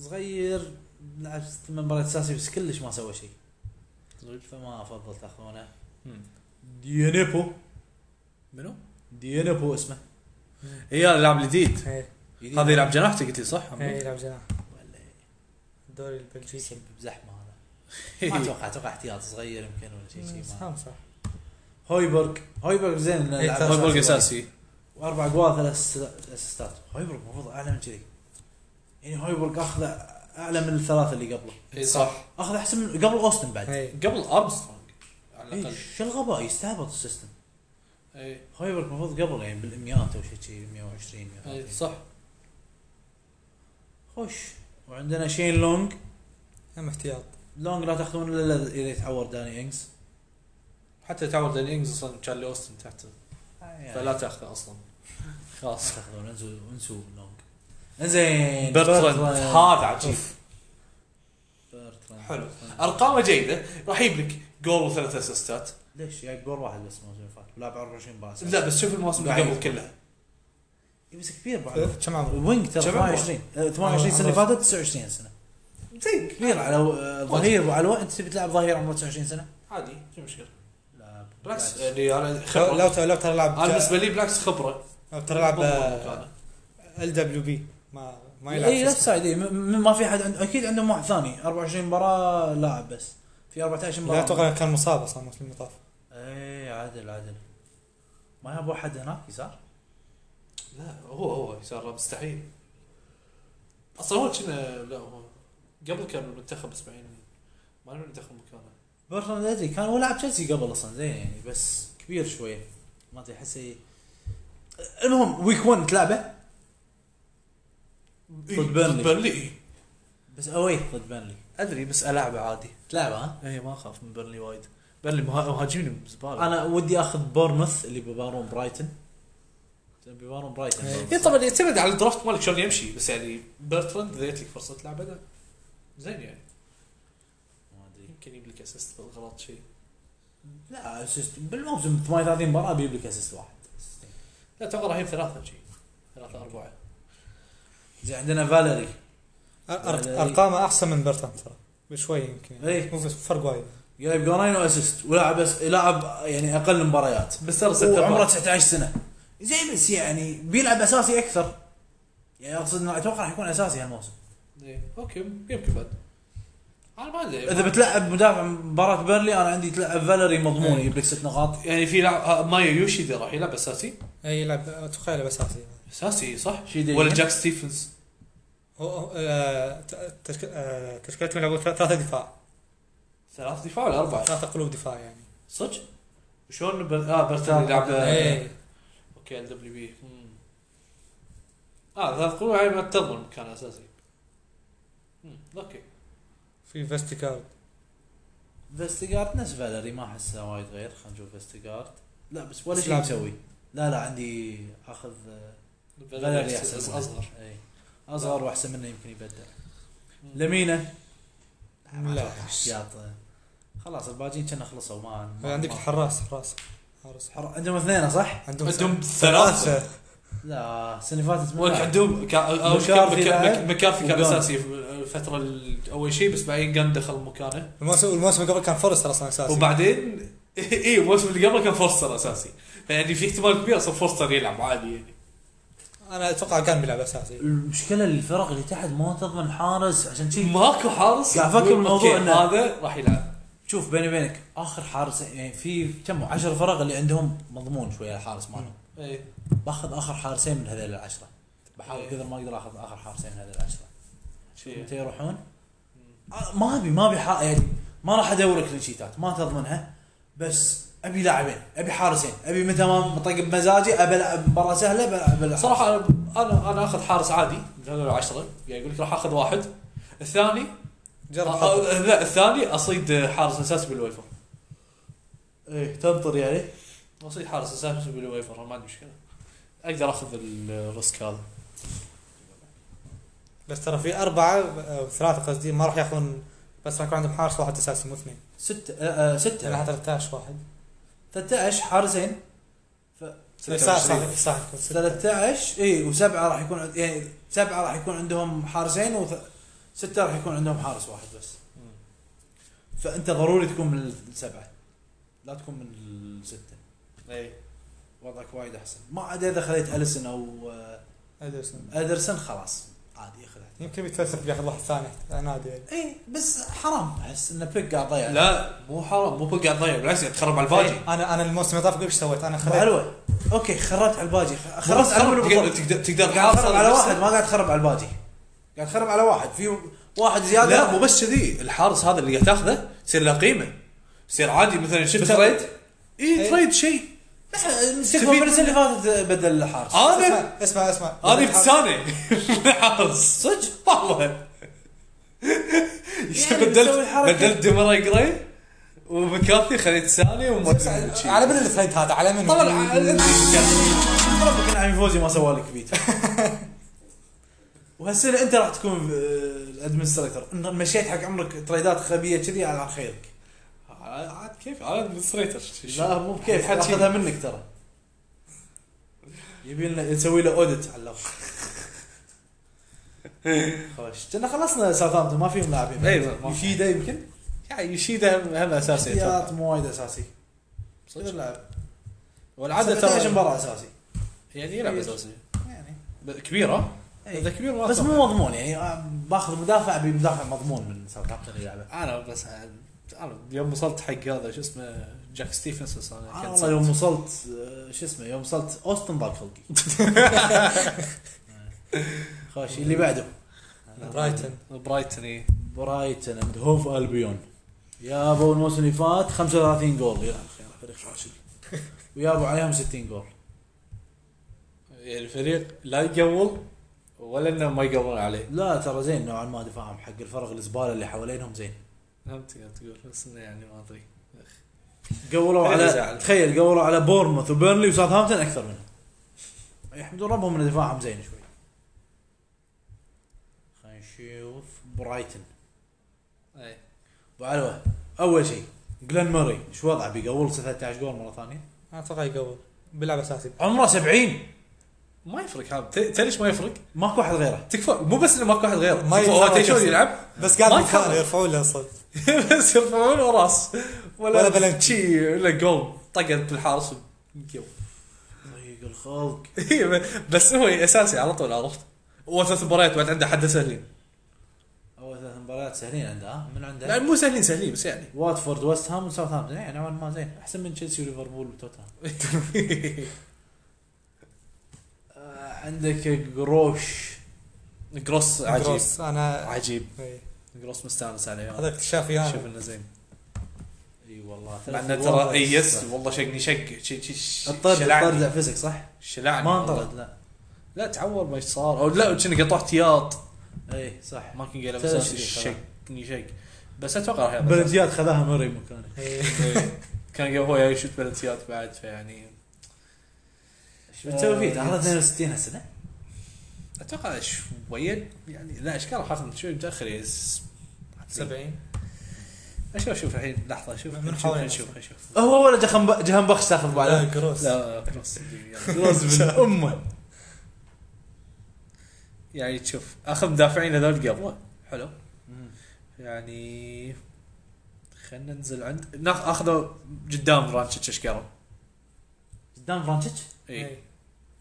S1: صغير لعب ثمان مباريات اساسي بس كلش ما سوى شيء فما افضل تاخذونه ديانيبو
S2: منو؟
S1: ديانيبو اسمه
S2: اي هذا لاعب جديد
S3: إيه.
S1: جديد.
S2: هذا يلعب جناح قلت لي صح؟
S3: إيه، يلعب جناح
S1: ولا
S3: الدوري البلجيكي
S1: يسبب زحمه هذا ما
S2: إيه.
S1: اتوقع اتوقع احتياط صغير يمكن ولا شيء شيء ما-
S3: خمسه
S1: هويبرغ هويبرغ زين إنه
S3: إيه،
S1: لعب
S3: ترى
S2: هويبرغ اساسي
S1: واربع اجوال ثلاث أس- اسيستات هويبرغ المفروض اعلى من كذي يعني هويبرغ اخذه اعلى من الثلاثه اللي قبله
S2: اي صح
S1: اخذ احسن من قبل اوستن بعد
S3: إيه.
S2: قبل ارمسترونج على إيه،
S1: إيه،
S2: الاقل
S1: شو الغباء يستهبط السيستم
S2: اي
S1: هويبرغ المفروض قبل يعني بالمئات او شيء شيء 120
S2: إي،
S1: 130
S2: إيه، صح
S1: خوش وعندنا شين لونج
S3: هم احتياط
S1: لونج لا تاخذون الا اذا يتعور داني انجز
S2: حتى تعود للانجز اصلا تشارلي اوستن تحته
S1: يعني
S2: فلا تاخذه اصلا خلاص
S1: تاخذون انسوا انسوا لونج انزين
S2: برتراند هذا عجيب
S1: برتراند.
S2: حلو. ارقامه جيده راح يجيب لك جول وثلاث اسيستات
S1: ليش يا جول واحد بس الموسم اللي فات ولعب 24 مباراه
S2: لا بس شوف المواسم اللي قبل كلها
S1: إي بس كبير بعد
S3: كم عمره؟
S1: وينج ترى
S2: شباب
S1: 28 آه، 28 السنه اللي فاتت 29 سنه
S2: زين
S1: كبير على آه، ظهير وعلى الوقت تبي تلعب ظهير عمره 29 سنه
S2: عادي شو المشكله
S1: لا
S2: بالعكس يعني انا
S3: لو
S2: خبره
S3: لو لو ترى لعب
S2: انا بالنسبه لي بالعكس خبره
S3: لو ترى لعب
S2: مضمون
S3: ال دبليو بي ما ما يلعب
S1: اي
S3: شو
S1: ليفت
S3: اسمه.
S1: إيه، سايد إي، م- م- ما في احد عند... اكيد عندهم واحد ثاني 24 مباراه لاعب بس في 14 مباراه
S3: لا اتوقع كان مصاب اصلا في المطاف
S1: اي إيه، عادل عادل ما يبغى واحد هناك يسار
S2: لا هو هو يسار مستحيل اصلا هو كنا لا هو قبل كان المنتخب بس بعدين ما نعرف منتخب مكانه
S1: برتراند ادري كان هو لاعب تشيلسي قبل اصلا زين يعني بس كبير شويه ما ادري احسه المهم ويك 1 تلعبه
S2: إيه،
S1: ضد بيرنلي.
S2: بيرنلي إيه.
S1: بس اوي ضد بيرنلي
S2: ادري بس العبه عادي
S1: تلعبه ها
S2: اي ما اخاف من بيرنلي وايد بيرنلي مها- مهاجمين بزباله
S1: انا ودي اخذ بورنموث اللي ببارون برايتون ببارون برايتون
S3: إيه.
S2: اي طبعا يعتمد على الدرافت مالك شلون يمشي بس يعني بيرتراند اذا جت لك فرصه تلعب هذا زين يعني
S1: ما ادري
S2: يمكن يجيب لك اسيست بالغلط شيء
S1: لا اسيست بالموسم 38 مباراه بيجيب لك اسيست واحد أسيستين.
S2: لا اتوقع راح يجيب ثلاثه شيء ثلاثه اربعه
S1: زين عندنا فاليري
S3: أر-
S1: لا، لا،
S3: ارقامه احسن من برتراند ترى بشوي يمكن
S1: إيه.
S3: يعني مو بس فرق وايد
S1: جايب جولين واسيست ولعب بس لعب يعني اقل مباريات
S2: بس ترى ست
S1: وعمره
S2: أربعة.
S1: 19 سنه زين بس يعني بيلعب اساسي اكثر يعني اقصد إنه اتوقع راح يكون اساسي هالموسم
S2: إيه، اوكي يمكن بعد انا ما ادري
S1: اذا بتلعب مدافع مباراه بيرلي انا عندي تلعب فاليري مضمون يجيب لك ست نقاط
S2: يعني في لاعب مايا يوشيدي راح يلعب اساسي
S3: اي يلعب اتوقع يلعب اساسي
S2: اساسي صح
S1: شيدي.
S2: ولا جاك ستيفنز
S3: هو آه، ت- تشك- آه، تشكيلتهم يلعبون ثلا- ثلاثة دفاع
S2: ثلاث دفاع ولا اربعه
S3: ثلاثة قلوب دفاع يعني
S2: صدق شلون بر... اه برتراند يلعب
S3: اي
S2: اوكي ال دبليو بي اه ثلاث قلوب يعني ما تضمن مكان اساسي مم، اوكي
S3: في فيستيكارد
S1: فيستيغارد نفس فاليري ما احسه وايد غير خلينا نشوف فيستيغارد لا بس ولا
S3: بس
S1: شيء
S3: لاعب.
S1: يسوي لا لا عندي اخذ آه، فاليري احسن منه.
S2: اصغر
S1: اي اصغر واحسن منه يمكن يبدل
S2: مم.
S1: لمينا
S3: لا
S1: احتياط طيب. خلاص الباجين كنا خلصوا ما ما-
S3: عندك
S1: ما-
S3: الحراس حراس حراس
S1: حر- عندهم اثنين صح؟
S3: عندهم
S4: عندهم ثلاثة
S3: ثلاثة
S1: لا السنه اللي فاتت
S2: وين
S1: من
S2: عندهم كا- أول شيء
S1: مكارثي
S2: مكا-
S1: لاعب
S2: مك- مكارثي كان
S1: وجون.
S2: اساسي في الفتره ال- اول شيء بس بعدين جان دخل مكانه
S3: الموسم الموسم اللي قبل كان فورست اصلا اساسي
S2: وبعدين اي الموسم اللي قبله كان فورستر اساسي فيعني في احتمال كبير اصلا فورستر يلعب عادي يعني
S3: انا اتوقع كان بيلعب اساسي
S1: المشكله الفرق اللي تحت ما تضمن حارس عشان شي
S2: ماكو حارس
S1: قاعد أفكر
S2: يقول
S1: بالموضوع
S2: أوكي،
S1: إنه-
S2: هذا راح يلعب
S1: شوف بيني وبينك اخر حارس يعني في كم 10 فرق اللي عندهم مضمون شويه الحارس مالهم
S2: إيه.
S1: باخذ اخر حارسين من هذيل العشره بحاول
S2: إيه.
S1: قدر ما اقدر اخذ اخر حارسين من هذيل العشره
S2: شي.
S1: متى يروحون؟ آه، ما ابي ما ابي حا- يعني ما راح ادور كلين شيتات ما تضمنها بس ابي لاعبين ابي حارسين ابي متى ما مطقب مزاجي ابي العب مباراه سهله بلعب بلعب.
S2: صراحه انا انا انا اخذ حارس عادي من هذول العشره يعني يقول لك راح اخذ واحد الثاني
S3: جرب
S2: آه،
S3: حظك.
S2: آه، لا الثاني اصيد حارس اساسي بالويفر
S1: ايه تنطر يعني
S2: اصيد حارس اساسي بالويفر أنا ما عندي مشكله اقدر اخذ الريسك هذا
S3: بس ترى في اربعه او ثلاثه قصدي ما راح ياخذون بس راح يكون عندهم حارس واحد اساسي مو اثنين يعني
S1: ستة آه آه، ستة
S3: راح 13 واحد
S1: 13 حارسين
S3: صح صح صح ستة.
S1: 13 اي إيه، وسبعة راح يكون عند- يعني سبعة راح يكون عندهم حارسين وستة راح يكون عندهم حارس واحد بس فانت ضروري تكون من السبعة لا تكون من الستة
S2: اي
S1: إيه، وضعك وايد احسن ما عدا اذا خليت اليسن او آه،
S3: أدرسون.
S1: ادرسن خلاص عادي اخذها
S3: يمكن يتفلسف بياخذ واحد ثاني نادي يعني
S1: اي بس حرام احس ان بيك قاعد ضيع
S2: لا مو حرام مو قاعد تضيع بالعكس قاعد تخرب على الباجي
S3: انا انا الموسم اللي طاف قبل ايش سويت؟ انا خذيت
S1: حلوه اوكي خربت على الباجي خ- خربت على من
S2: تقدر-
S1: البطولة.
S2: تقدر تقدر
S1: قاعد
S2: حارس
S1: تخرب على
S2: نفسه.
S1: واحد ما قاعد تخرب على الباجي قاعد تخرب على واحد في واحد زياده
S2: لا مو بس كذي الحارس هذا اللي قاعد تاخذه يصير له قيمه يصير عادي مثلا شفت
S1: بالضبط.
S2: تريد اي
S3: إيه.
S2: تريد شيء
S1: مستقبل من السنه اللي فاتت آه، بدل الحارس
S2: انا
S3: اسمع اسمع اسمع
S2: انا ابتسانه حارس صدق والله
S1: يعني بتسوي
S2: بدلت
S1: الحركة.
S2: بدلت دمرة جراي ومكافي خليت ساني وما
S3: اسمع، على من الثريد هذا على من
S2: طبعا على-
S1: ربك نعيم فوزي ما سوى لك بيت وهالسنه انت راح تكون آه، الادمنستريتور إن مشيت حق عمرك تريدات خبيه كذي على خيرك
S2: عاد كيف على ادمنستريتر
S1: لا مو بكيف
S2: حكي.
S1: اخذها منك ترى يبي لنا نسوي له اوديت على اللوحه خوش كنا خلصنا ساوثهامبتون ما فيهم لاعبين
S2: اي إيه، ما- ما-
S1: يشيدا يمكن
S2: يعني يشيده هم هم اساسي
S1: احتياط
S2: أتوقع.
S1: مو وايد اساسي
S2: صدق.
S1: يلعب
S2: والعاده
S1: عدد 13
S2: ترى
S1: مباراه اساسي
S2: يعني يلعب اساسي
S1: يعني
S2: ب- كبيره اذا كبير ما
S1: إيه. بس
S2: أتوقع.
S1: مو مضمون يعني آه، باخذ مدافع بمدافع مضمون من ساوثهامبتون يلعبه
S2: انا بس انا يوم وصلت حق هذا شو اسمه جاك يعني ستيفنس انا
S1: انا
S2: كنت
S1: والله يوم وصلت آه، شو اسمه يوم وصلت اوستن ضاق خلقي خوش اللي بعده
S3: برايتون
S2: برايتون إي.
S1: برايتون اند هوف البيون يا ابو الموسم اللي فات 35 جول يا الخير فريق فاشل ويا ابو عليهم 60 جول
S2: يعني الفريق لا يقول ولا انه ما يقولون عليه
S1: لا ترى زين نوعا ما دفاعهم حق الفرق الزباله اللي حوالينهم زين
S2: فهمت قاعد تقول بس انه يعني ما ادري
S1: قولوا
S2: خلينا
S1: على
S2: نزعل.
S1: تخيل قولوا على بورموث وبيرنلي وساوثهامبتون اكثر منهم يحمدون ربهم ان دفاعهم زين شوي خلينا نشوف برايتن
S2: اي
S1: ابو علوه اول شيء جلن موري ايش وضعه بيقول 13 جول مره ثانيه
S3: انا اتوقع يقول بيلعب اساسي
S1: عمره 70
S2: ما يفرق هذا ت- تدري ليش ما يفرق؟
S1: ماكو احد غيره
S2: تكفى مو بس انه ماكو واحد غيره
S3: ما
S2: تكفى هو
S3: يتحرك
S2: تيشون
S3: أصلاً.
S2: يلعب
S3: بس
S2: ما
S3: قاعد
S2: يتحرك.
S3: مكان يرفعون له صوت
S2: بس يرفعون وراس
S3: ولا
S2: ولا
S3: بلنتي.
S2: شي ولا جول طقت بالحارس وجو.
S1: طريق الخلق
S2: إي، بس هو اساسي على طول عرفت اول ثلاث مباريات بعد عنده حد سهلين
S1: اول ثلاث مباريات سهلين عنده ها؟ من
S2: لا
S1: عنده
S2: مو سهلين سهلين بس يعني
S1: واتفورد ويست هام وساوثهامبتون يعني نوعا ما زين احسن من تشيلسي وليفربول وتوتنهام آه، عندك جروش
S2: جروس عجيب
S3: جروس انا
S2: عجيب
S3: إيه.
S2: جروس مستانس عليه
S3: هذا اكتشافي
S2: شوف
S3: انا
S2: انه زين
S1: اي والله
S2: مع انه ترى اي يس والله شقني شق شي- شي- شي-
S1: الطرد
S2: شلعني.
S1: الطرد فيزيك صح؟
S2: شلعني
S1: ما
S2: والله.
S1: انطرد لا
S2: لا تعور ما ايش صار او لا كنا قطع احتياط
S1: اي صح
S2: ما كان قايل
S1: ترى
S2: اساسي
S1: شي- خلاص.
S2: شقني شق بس اتوقع راح يلعب أساسي.
S1: بلنتيات خذاها موري مكانه
S3: إيه.
S2: إيه. كان قايل هو يشوت بلنتيات بعد فيعني
S1: ايش
S2: آه،
S1: بتسوي فيه؟ هذا 62 هالسنه؟
S2: اتوقع شويه يعني لا اشكال راح اخذ شوي متاخر يعني س-
S3: 70
S2: شوف شوف الحين لحظه شوف
S3: من
S2: نشوف
S3: حوالينا.
S2: نشوف نشوف
S1: هو ولا جهنب- جهنبخش تاخذ بعده
S3: لا كروس
S2: لا كروس يعني-
S1: جروز بن امه
S2: يعني تشوف اخذ مدافعين هذول قبله حلو يعني خلينا ننزل عند ناخ- اخذه قدام رانشيتش اشكره
S1: قدام فرانشيتش
S2: اي
S3: إيه.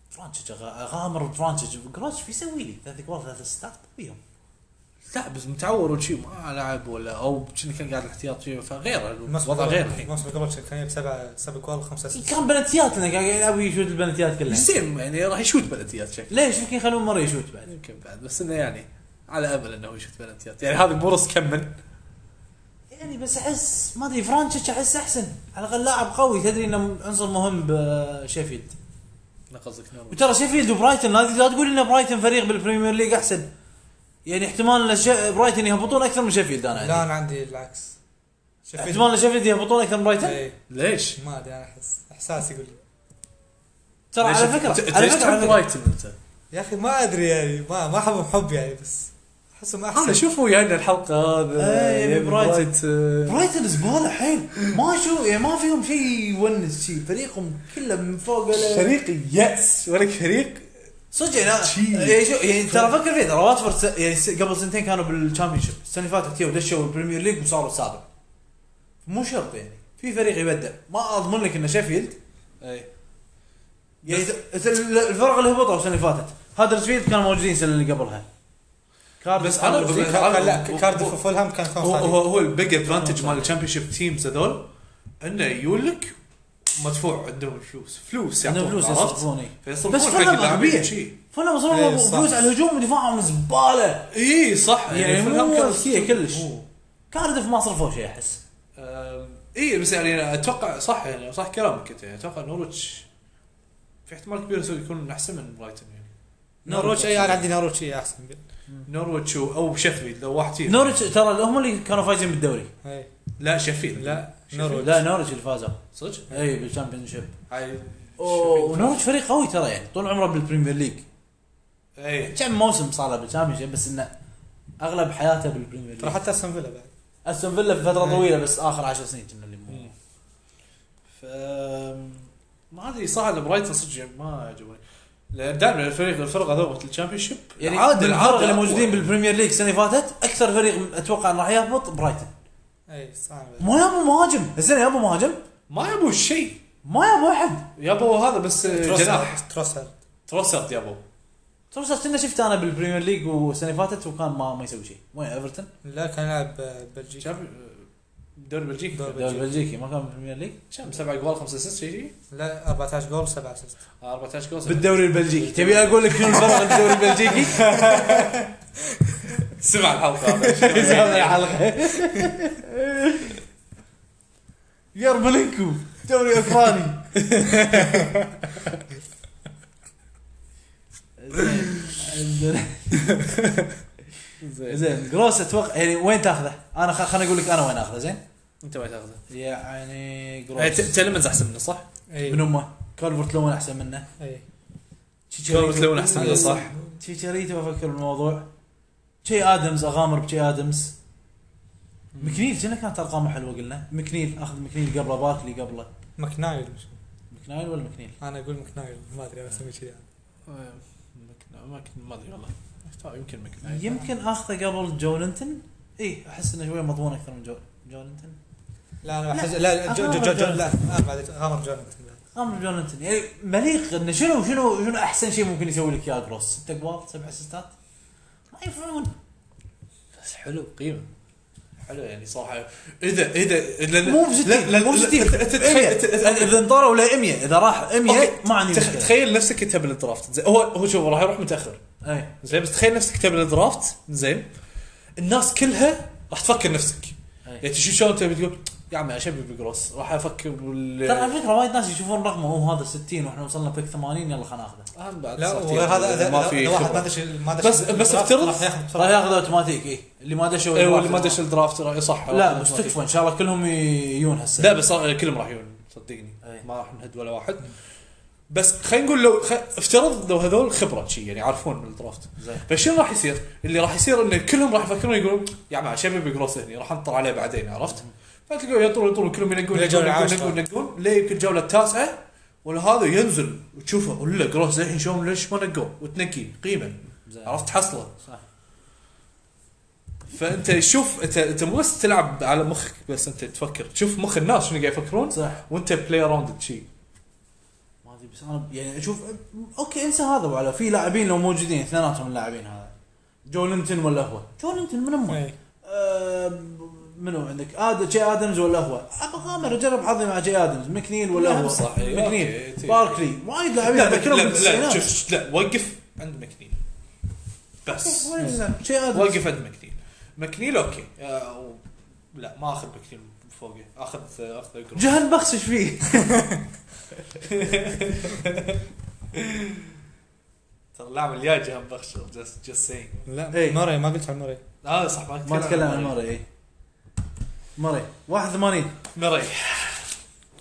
S1: فرانشيتش غ- غامر فرانشيتش جروش شو يسوي لي؟ ثلاث كبار ثلاث ستات طبيهم
S2: لا بس متعور وشي ما لعب ولا او كنا كان قاعد الاحتياط شي فغير الوضع غير الحين
S3: الموسم اللي قبل كان يجيب سبعه سبع جوال خمسه اسيست
S1: كان بلنتيات لنا قاعد يلعب يشوت البلنتيات كلها
S2: زين يعني راح يشوت بلنتيات شكله
S1: ليش يمكن يخلون مره يشوت بعد
S2: يمكن بعد بس انه يعني على امل انه يشوت بلنتيات يعني هذا مو رص كم من
S1: يعني بس احس ما ادري فرانشيتش احس احسن على الاقل لاعب قوي تدري انه عنصر مهم بشيفيلد
S2: أنا قصدك نورو.
S1: وترى شيفيلد وبرايتون هذه لا تقول ان برايتون فريق بالبريمير ليج احسن يعني احتمال ان شي- برايتون يهبطون اكثر من شيفيلد انا
S3: لا
S1: عندي
S3: انا عندي العكس
S1: احتمال ان شيفيلد يهبطون اكثر من برايتون
S3: إيه،
S2: ليش؟
S3: ما ادري انا احس احساس يقول لي
S1: ترى على
S2: ليش-
S1: فكره
S2: أنت- أنت
S1: على
S2: ليش
S1: فكره على
S2: تحب
S1: فكرة-
S2: برايتون انت؟
S3: يا اخي ما ادري يعني ما ما احبهم حب يعني بس احسهم احسن
S2: انا شوفوا ويانا الحلقه هذا
S1: إيه،
S2: يبي
S1: برايتون.
S2: برايتون.
S1: برايتون زباله حيل ما شو يعني ما فيهم شيء يونس شيء فريقهم كله من فوق ولا-
S4: فريق يأس ولك فريق
S1: صدق يعني
S4: شي.
S1: أنا- يعني شو يعني ترى فكر فيه ترى واتفورد س- يعني س- قبل سنتين كانوا بالشامبيونشيب السنه اللي فاتت يو دشوا البريمير ليج وصاروا السابع مو شرط يعني في فريق يبدع ما اضمن لك ان شيفيلد
S2: إيه.
S1: يعني ت- ت- الفرق اللي هبطوا السنه اللي فاتت هادرسفيلد كانوا موجودين السنه اللي قبلها كارديف
S2: بس
S1: كانوا
S2: أنا
S1: موجودين.
S2: بقول-
S3: كان- كان- لا كارديف وفولهام كان كان
S2: هو هو
S3: صعب
S2: هو البيج ادفانتج مال الشامبيون شيب تيمز هذول انه يولك مدفوع عندهم فلوس فلوس
S1: عندهم فلوس
S2: عرفت؟
S1: يصرفون إيه.
S2: فيصرفون
S1: بس
S2: حق
S1: فلان
S2: اللاعبين
S1: أغبياء.
S2: شي.
S1: فلهم
S3: إيه،
S1: صاروا
S3: صح.
S1: فلوس على الهجوم ودفاعهم زباله
S2: اي صح
S1: يعني
S2: فلان
S1: مو
S2: كان-
S1: أذكياء كلش.
S2: مو.
S1: كارديف ما صرفوا شيء احس
S2: أم، اي بس يعني اتوقع صح يعني صح كلامك انت يعني اتوقع نورويتش في احتمال كبير يصير يكون احسن من برايتون يعني
S3: نوروتش اي انا إيه، عندي نوروتش إي، احسن
S2: نورويتش و- او شيفيلد لو واحد فيهم
S1: نورتش ترى هم اللي كانوا فايزين بالدوري
S3: إي.
S2: لا شيفيلد
S3: لا
S2: شيفيلد.
S3: نوروتش
S1: لا نورتش اللي فازوا
S2: صدق؟
S1: اي بالشامبيون شيب
S2: هاي
S1: ونورتش فريق قوي ترى يعني طول عمره بالبريمير ليج
S2: اي
S1: كم موسم صار له بالشامبيون شيب بس انه اغلب حياته بالبريمير
S3: ترى
S2: إيه.
S1: ليج
S3: حتى استون فيلا بعد
S1: استون فيلا في فتره طويله بس اخر 10 سنين كنا اللي مو
S2: ف ما ادري صح إن برايتون صدق يعني ما عجبني لان دائما الفريق الفرق هذول مثل الشامبيون شيب
S1: يعني عاد العرق اللي موجودين بالبريمير ليج السنه اللي فاتت اكثر فريق اتوقع انه راح يهبط برايتون
S3: اي إيه، صعب
S1: ما يبوا مهاجم السنه يبوا مهاجم
S2: ما يبوا شيء
S1: ما يبوا احد
S2: يبوا هذا بس آه، جناح
S3: تروسر تروسر
S2: تروسرت يبوا
S1: ترى كنا شفت انا بالبريمير ليج والسنه اللي فاتت وكان ما ما يسوي شيء وين ايفرتون؟
S3: لا كان يلعب بلجيكا
S2: شامبيون- آه، دوري بلجيكي
S3: دوري
S1: الدوري البلجيكي ما كان بالبريمير ليج
S2: كم سبع جوال خمسة اسيست شيء شيء
S3: لا 14 جول 7 اسيست
S2: 14 جول سبع.
S1: بالدوري البلجيكي تبي اقول لك شنو الفرق الدوري البلجيكي؟
S2: سمع الحلقه هذا. يعني؟
S1: الحلقه يرملنكو دوري اوكراني زين.
S2: زين
S1: زين جروس اتوقع يعني وين تاخذه؟ انا خ- خليني اقول لك انا وين اخذه زين؟
S2: انت ما تاخذه
S1: يعني
S2: يعني ت-
S1: جروس
S2: تلمنز احسن منه صح؟
S3: اي
S1: من امه كولفرت لون احسن منه إيه،
S3: اي
S2: كولفرت لون احسن منه صح؟
S1: تشيتشاريتو افكر بالموضوع تشي ادمز اغامر بتشي ادمز مكنيل شنو كانت ارقامه حلوه قلنا مكنيل اخذ مكنيل قبله باركلي قبله
S3: مكنايل مش-
S1: مكنايل ولا مكنيل
S3: انا اقول مكنايل ما ادري انا اسوي كذي أنا.
S2: آه، ما كنت ما ادري والله طيب، يمكن مكنايل
S1: يمكن اخذه قبل إيه، جولنتون اي احس انه شوي مضمون اكثر من جو جولنتون
S3: لا انا بحس لا لا جو- جو- جو- جو- لا انا بعد غامر جونتن بعد
S1: غامر جولنتون يعني مليق انه شنو شنو شنو احسن شيء ممكن يسوي لك يا جروس ست اقوال سبع اسيستات ما ينفعون
S2: بس حلو قيمه حلو يعني صراحه اذا اذا لأن-
S1: مو ب 60 مو ب 60
S3: إيه؟
S1: اذا إيه. انطروا ل 100 اذا راح 100
S2: أوكي.
S1: ما عندي
S2: تخ-
S1: مشكله
S2: تخيل نفسك انت بالدرافت زين، هو هو شوف راح يروح متاخر
S1: اي
S2: زين بس تخيل نفسك انت بالدرافت زين الناس كلها راح تفكر نفسك
S3: إيه.
S1: أي.
S2: يعني تشوف شلون انت بتقول يا عمي اشبي بجروس راح افكر بال
S1: ترى على فكره وايد ناس يشوفون رقمه هو هذا 60 واحنا وصلنا بيك 80 يلا خلينا ناخذه
S2: أهم بعد
S3: لا
S2: صارت
S3: وغير هذا
S2: يعني
S3: اذا
S2: ما في
S3: إذا واحد ما
S2: خبرة.
S3: دش ما دش
S2: بس- بس افترض-
S3: راح ياخذ
S1: راح
S3: بسرعه
S1: ياخذ اوتوماتيك اي إيه. اللي ما دشوا
S2: اي إيه، واللي
S1: الدرافت
S2: ما دش الدرافت راح- صح
S1: لا
S2: راح-
S1: مستكفى ان شاء الله كلهم ي- يجون هسه
S2: لا بس صار- كلهم راح يجون صدقني
S1: أي.
S2: ما راح نهد ولا واحد بس خلينا نقول لو خ... افترض لو هذول خبره شي يعني يعرفون من الدرافت
S1: زين
S2: فشنو راح يصير؟ اللي راح يصير ان كلهم راح يفكرون يقولون يا عم شباب جروس هني راح انطر عليه بعدين عرفت؟ فتلقوا يطرون يطرون كلهم ينقون
S3: من الجولة
S2: ينقون
S3: العاشرة.
S2: ينقون ينقون ليه يمكن الجوله التاسعه ولا هذا ينزل وتشوفه ولا جروس الحين شلون ليش ما نقوه وتنقي قيمه
S1: زين.
S2: عرفت حصله
S1: صح.
S2: فانت شوف انت انت مو بس تلعب على مخك بس انت تفكر تشوف مخ الناس شنو قاعد يفكرون
S1: صح
S2: وانت بلاي اراوند شي
S1: ما ادري بس انا يعني اشوف اوكي انسى هذا وعلا في لاعبين لو موجودين اثنيناتهم اللاعبين هذا جولينتون ولا هو جولينتون من امه
S3: إيه.
S1: منو عندك اد جي ادمز ولا هو ابى اغامر اجرب حظي مع جي ادمز مكنيل ولا هو
S2: صح، إيه، أوكي،
S1: مكنيل
S2: تي-
S1: باركلي وايد لاعبين
S2: لا لا
S1: أذكرهم
S2: لا, لا
S1: بالتسعينات.
S2: شوف شوف، لا وقف عند مكنيل بس
S1: إيه، وين زين؟ جي ادمز
S2: وقف عند مكنيل مكنيل اوكي آه، و- لا ما اخذ مكنيل فوقه اخذ اخذ أقرب.
S1: جهل بخش ايش فيه؟
S2: ترى اللاعب الجاي جهان بخش جست جست سينج
S3: لا
S1: إيه.
S3: موري ما قلت عن موري
S2: اه صح ما
S1: ما نتكلم عن إيه. ماري اي ماري 81
S2: مري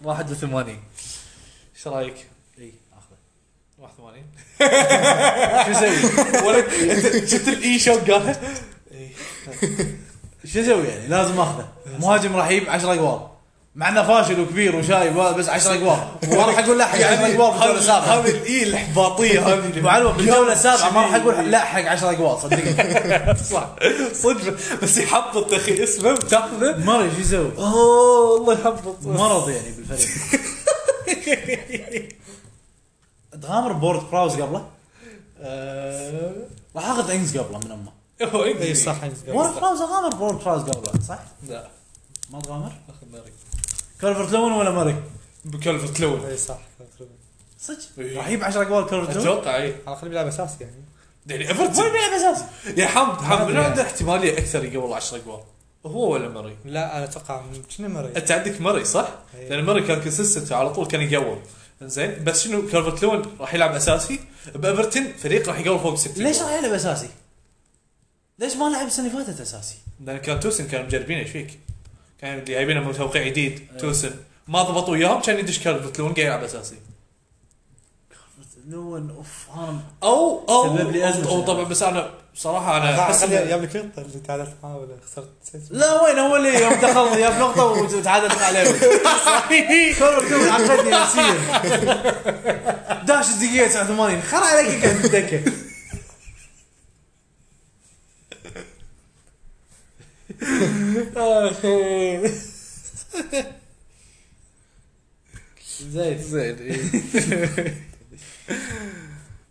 S2: 81 ايش رايك؟
S1: اي اخذه
S2: 81 شو يسوي؟ ولا أنت شفت الاي شو قالها؟
S1: شو اسوي يعني؟ لازم اخذه مهاجم راح يجيب 10 اقوال مع انه فاشل وكبير وشايب بس 10 اقوال ما راح اقول لا حق 10 اقوال بالجوله السابعه
S2: هذه الاي الاحباطيه هذه
S1: ابو
S2: اللي-
S1: علوه بالجوله السابعه ما راح اقول لا حق 10 اقوال صدقني
S2: صح صدق بس يحبط اخي اسمه وتاخذه
S1: ماري شو يسوي؟
S2: اوه الله يحبط
S1: مرض يعني بالفريق تغامر بورد براوز قبله
S2: آه،
S1: راح اخذ انجز قبله من امه
S2: هو
S3: اي
S2: انجلي
S3: إيه، صح
S1: بورد براوز اغامر بورد براوز قبله صح؟
S2: لا
S1: ما تغامر؟
S2: اخذ ماري
S1: كولفرت لون ولا ماري؟
S2: بكلفة لون
S3: اي إيه، صح
S1: صدق
S2: إيه.
S1: راح يجيب 10 اقوال كولفرت لون
S2: اتوقع اي
S3: على الاقل بيلعب اساسي يعني
S2: يعني
S1: وين
S2: ايفرتون
S1: بيلعب اساسي؟
S2: يا حمد حمد من
S1: يعني.
S2: عنده احتماليه اكثر يقبل 10 اجوال هو ولا ماري
S3: لا انا اتوقع شنو موري
S2: انت عندك ماري صح؟
S3: إيه.
S2: لان ماري كان كونسستنت على طول كان يقوم زين بس شنو كالفرت لون راح يلعب اساسي بايفرتون فريق راح يقوم فوق 60
S1: ليش راح يلعب اساسي؟ ليش ما لعب السنه اللي فاتت اساسي؟
S2: لان كان توسن كانوا مجربينه ايش فيك؟ كان اللي جايبينه من توقيع
S1: إيه.
S2: جديد توسن ما ضبطوا وياهم كان يدش كالفرت لون قاعد يلعب اساسي
S1: لون اوف انا
S2: او او
S1: سبب لي أزمة
S2: او
S1: يعني.
S2: طبعا بس انا بصراحه انا احس
S3: خلي
S2: إن-
S3: جاب لك نقطه اللي تعادلت معاه ولا خسرت نسيت.
S1: لا وين هو اللي يوم دخل جاب نقطه وتعادلت عليه كولفرت لون عقدني نفسيا داش الدقيقه 89 خر عليك قاعد بالدكه زين
S2: زين إيه.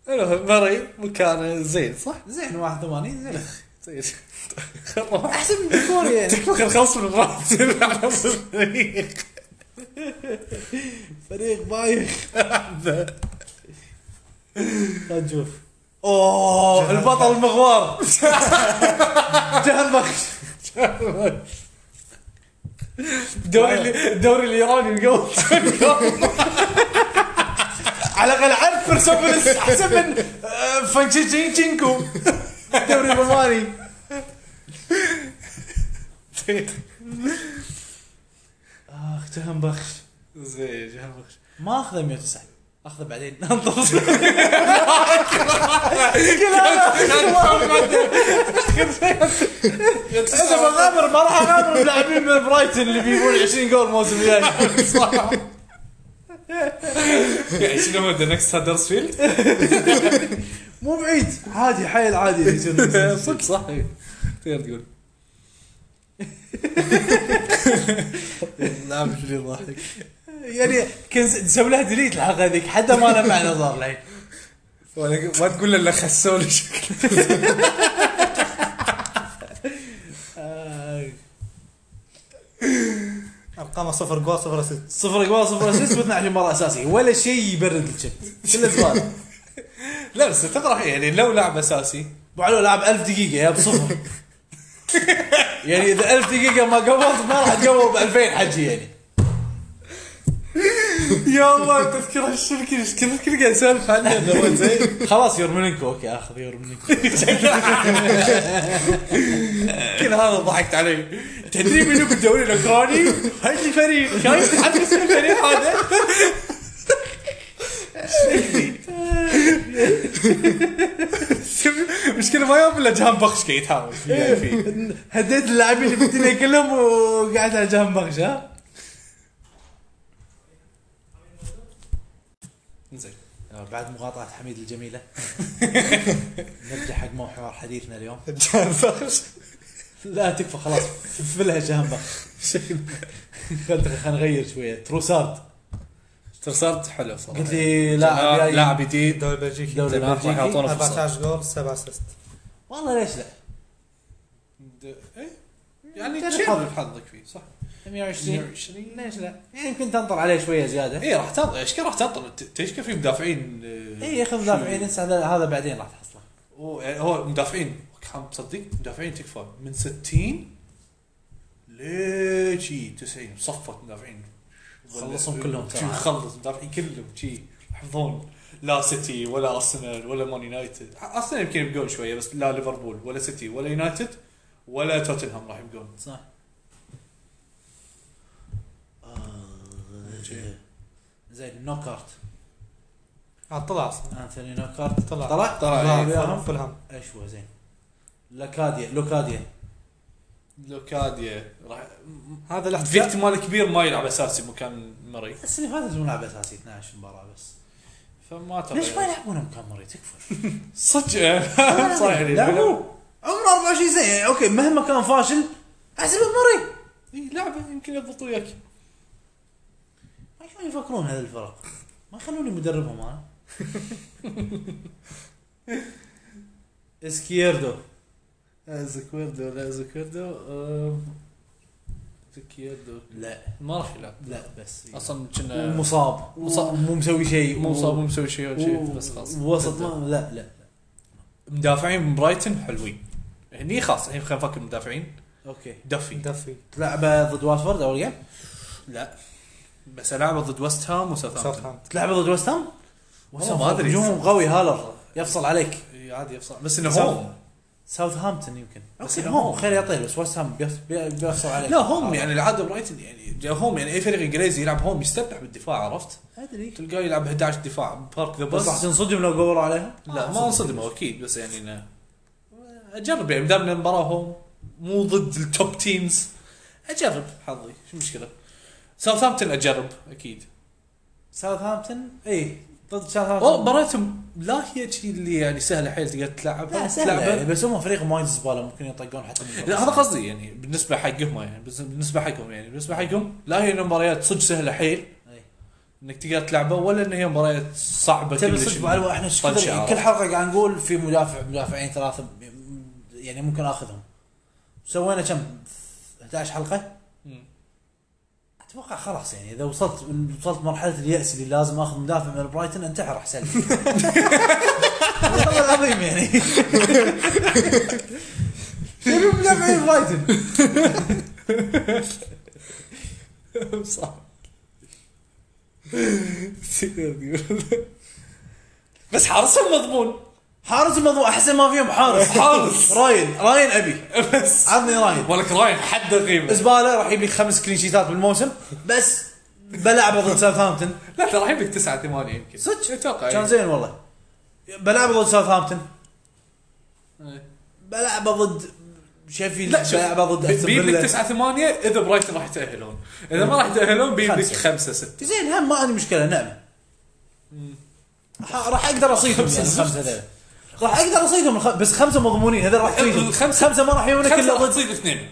S2: المهم مري مكانه زين صح؟
S1: زين 81 زين
S2: زين
S1: احسن من كوريا يعني
S2: تكفى نخلص من الراتب على الفريق
S1: فريق بايخ خلنا نشوف اوه البطل المغوار جهل بخش
S2: الدوري اللي- الدوري الايراني القوي
S1: على الاقل عرف برسوبوليس احسن من آه، فانشيتشينكو الدوري الروماني اخ جهل بخش
S2: زين جهان بخش
S1: ما اخذه 109 اخذه بعدين انطر اذا بغامر ما راح اغامر بلاعبين من برايتن اللي بيجيبون 20 جول الموسم الجاي
S2: يعني شنو هو ذا نكست هدرسفيلد؟
S1: مو بعيد عادي حيل عادي اللي يصير.
S2: صدق صح إيه. تقدر تقول
S1: اللاعب اللي يضحك يعني كنز تسوي لها ديليت الحلقه هذيك حتى ما لها معنى صار الحين
S3: ولا ما تقول له الا خسولي شكله ارقامه صفر جول صفر اسيست
S1: صفر اجوال صفر اسيست و12 مره اساسي ولا شيء يبرد الشت كله زباله
S2: لا بس تفرح يعني لو لاعب اساسي
S1: ابو علو لعب 1000 دقيقه يا بصفر يعني اذا 1000 دقيقه ما قبضت ما راح تقبض ب 2000 حجي يعني
S2: يا الله تذكر هالشركه ايش كثر كل قاعد اسولف عنها إنه هو زين
S1: خلاص يورمنكو اوكي اخذ يورمنكو
S2: كل هذا ضحكت علي تدري منو بالدوري الاوكراني؟ هاي الفريق شايف متحمس الفريق هذا المشكله ما ياب الا جهان بخش قاعد يتحاول فيه فيه.
S1: إيه.
S4: هديت اللاعبين اللي بالدنيا كلهم وقعدت على جنب بغش ها
S2: زين
S1: آه، بعد مقاطعة حميد الجميلة نرجع حق محور حديثنا اليوم
S3: جان بخش
S1: لا تكفى خلاص فلها جهان بخش خلنا خلنا نغير شوية تروسارد
S2: ترسارت حلو صراحه
S1: قلت لي لاعب جاي-
S2: لاعب جديد
S3: الدوري البلجيكي
S1: دوري
S2: جناح راح
S1: بلجيكي.
S2: يعطونا فرصه
S3: 14 جول 7 اسيست
S1: والله ليش لا
S2: إيه؟ يعني
S1: تجرب.
S2: تجرب حظك فيه صح
S1: 120 ليش لا يعني يمكن تنطر عليه شوية زيادة
S2: اي إيه، راح تنطر ايش كان راح تنطر ت- تدري كيف في مدافعين آه،
S1: اي إيه، خذ مدافعين انسى هذا هذا بعدين راح تحصله
S2: هو يعني هو مدافعين كان تصدق مدافعين تكفى من 60 لشي 90 صفت مدافعين
S1: خلصهم كلهم
S2: شي خلص مدافعين كلهم شي يحفظون لا سيتي ولا ارسنال ولا مان يونايتد ارسنال يمكن يبقون شويه بس لا ليفربول ولا سيتي ولا يونايتد ولا توتنهام راح يبقون
S1: صح
S2: جي.
S1: زين نوكارت
S3: عاد طلع اصلا
S1: انثوني نوكارت
S3: طلع. إيه،
S1: طلع إيه،
S3: طلع
S1: وياهم.
S3: فولهام فولهام
S1: اشوى زين لوكاديا لوكاديا
S2: لوكاديا راح
S3: هذا الاحتفال
S2: في احتمال كبير ما يلعب اساسي مكان مري
S1: السنه اللي فاتت ملعب اساسي 12 مباراه بس
S2: فما اتوقع
S1: ليش ما يلعبونه مكان مريض تكفى
S2: صدق صحيح إيه،
S1: لعبوه عمره 24 سنه يعني اوكي مهما كان فاشل احسبه مريض
S2: إي، لعبه يمكن يضبط وياك
S1: ما شلون يفكرون هذه الفرق ما يخلوني مدربهم انا اسكيردو
S2: زكويردو لا زكويردو آم، زكويردو
S1: لا
S2: ما راح يلعب
S1: لا بس
S2: اصلا كنا
S1: ومصاب
S2: مصاب.
S1: مو مسوي شيء
S2: مو مصاب مو مسوي شيء ولا شيء
S1: و-
S2: بس خلاص
S1: وسط ما لا لا
S2: مدافعين برايتن حلوين هني خلاص الحين خلينا نفكر مدافعين
S1: اوكي
S2: دفي
S3: دفي
S1: تلعبه ضد واتفورد اول جيم
S2: لا بس لعبه ضد ويست هام وساوثهامبتون
S3: ساوثهامبتون
S1: تلعبه ضد ويست هام
S2: والله ما أدري.
S1: هجومهم قوي هالر يفصل عليك
S2: إي، عادي يفصل بس انه
S1: ساوث-
S2: هوم
S1: ساوثهامبتون يمكن
S2: أوكي،
S1: بس هوم خير يطير بس ويست هام بيف- بي- بيفصل عليك
S2: لا هوم يعني العاده برايتن يعني جا هوم يعني اي فريق انجليزي يلعب هوم يستمتع بالدفاع عرفت؟
S1: ادري
S2: تلقاه يلعب 11 دفاع بارك ذا
S1: بس راح
S2: بس
S1: تنصدم لو قولوا عليهم
S2: لا ما انصدموا اكيد بس يعني انه اجرب يعني دام المباراه هوم مو ضد التوب تيمز اجرب حظي شو المشكله؟ ساوثهامبتون اجرب اكيد
S1: ساوثهامبتون اي ضد
S2: والله
S1: ساوثهامبتون
S2: مباراتهم لا هي شي اللي يعني سهله حيل تقدر تلعب
S1: لا
S2: تلعبها.
S1: سهلة يعني بس هم فريق وايد زباله ممكن يطقون حتى من
S2: لا هذا قصدي يعني بالنسبه حقهم يعني بس- بالنسبه حقهم يعني بالنسبه حقهم لا هي إنه مباريات صدق سهله حيل
S1: إي.
S2: انك تقدر تلعبه ولا ان هي مباريات صعبه
S1: تبي
S2: كلش
S1: صدق معلومه احنا إيش
S2: طنشة،
S1: كثر-
S2: عرفت؟
S1: كل حلقه قاعد نقول في مدافع مدافعين ثلاثه يعني ممكن اخذهم سوينا كم 11 حلقه
S2: مم.
S1: اتوقع خلاص يعني اذا وصلت وصلت مرحله الياس اللي لازم اخذ مدافع من برايتن انتحر احسن لي. والله العظيم يعني شنو مدافعين برايتن؟
S2: صح بس حارسهم مضمون
S1: حارس الموضوع احسن ما فيهم حارس
S2: حارس.
S1: راين راين ابي
S2: بس
S1: عطني راين
S2: ولك راين حد قيمه
S1: زباله راح يجيب لك خمس كلين شيتات بالموسم بس بلعبه ضد ساوثهامبتون
S2: لا ترى الحين بك 9 8 يمكن
S1: صدق؟
S2: اتوقع
S1: كان
S2: يعني.
S1: زين والله بلعبه ضد ساوثهامبتون
S2: إيه.
S1: بلعبه ضد شيفيلد
S2: لا شوف
S1: بلعبه ضد أستون
S2: بيبك
S1: فيلا.
S2: 9 8 اذا برايتون راح يتاهلون اذا ما راح يتاهلون بيبك
S1: خمسة.
S2: 5 6
S1: زين هم ما عندي مشكله نعم ح- راح اقدر اصيدهم يعني
S2: خمسة
S1: الخمسه هذول راح اقدر اصيدهم الخ... بس خمسه مضمونين هذول راح يصيدهم
S2: الخمسة-
S1: خمسه ما راح يجونك
S2: خمسة
S1: الا
S2: راح
S1: ضد
S2: تصيد اثنين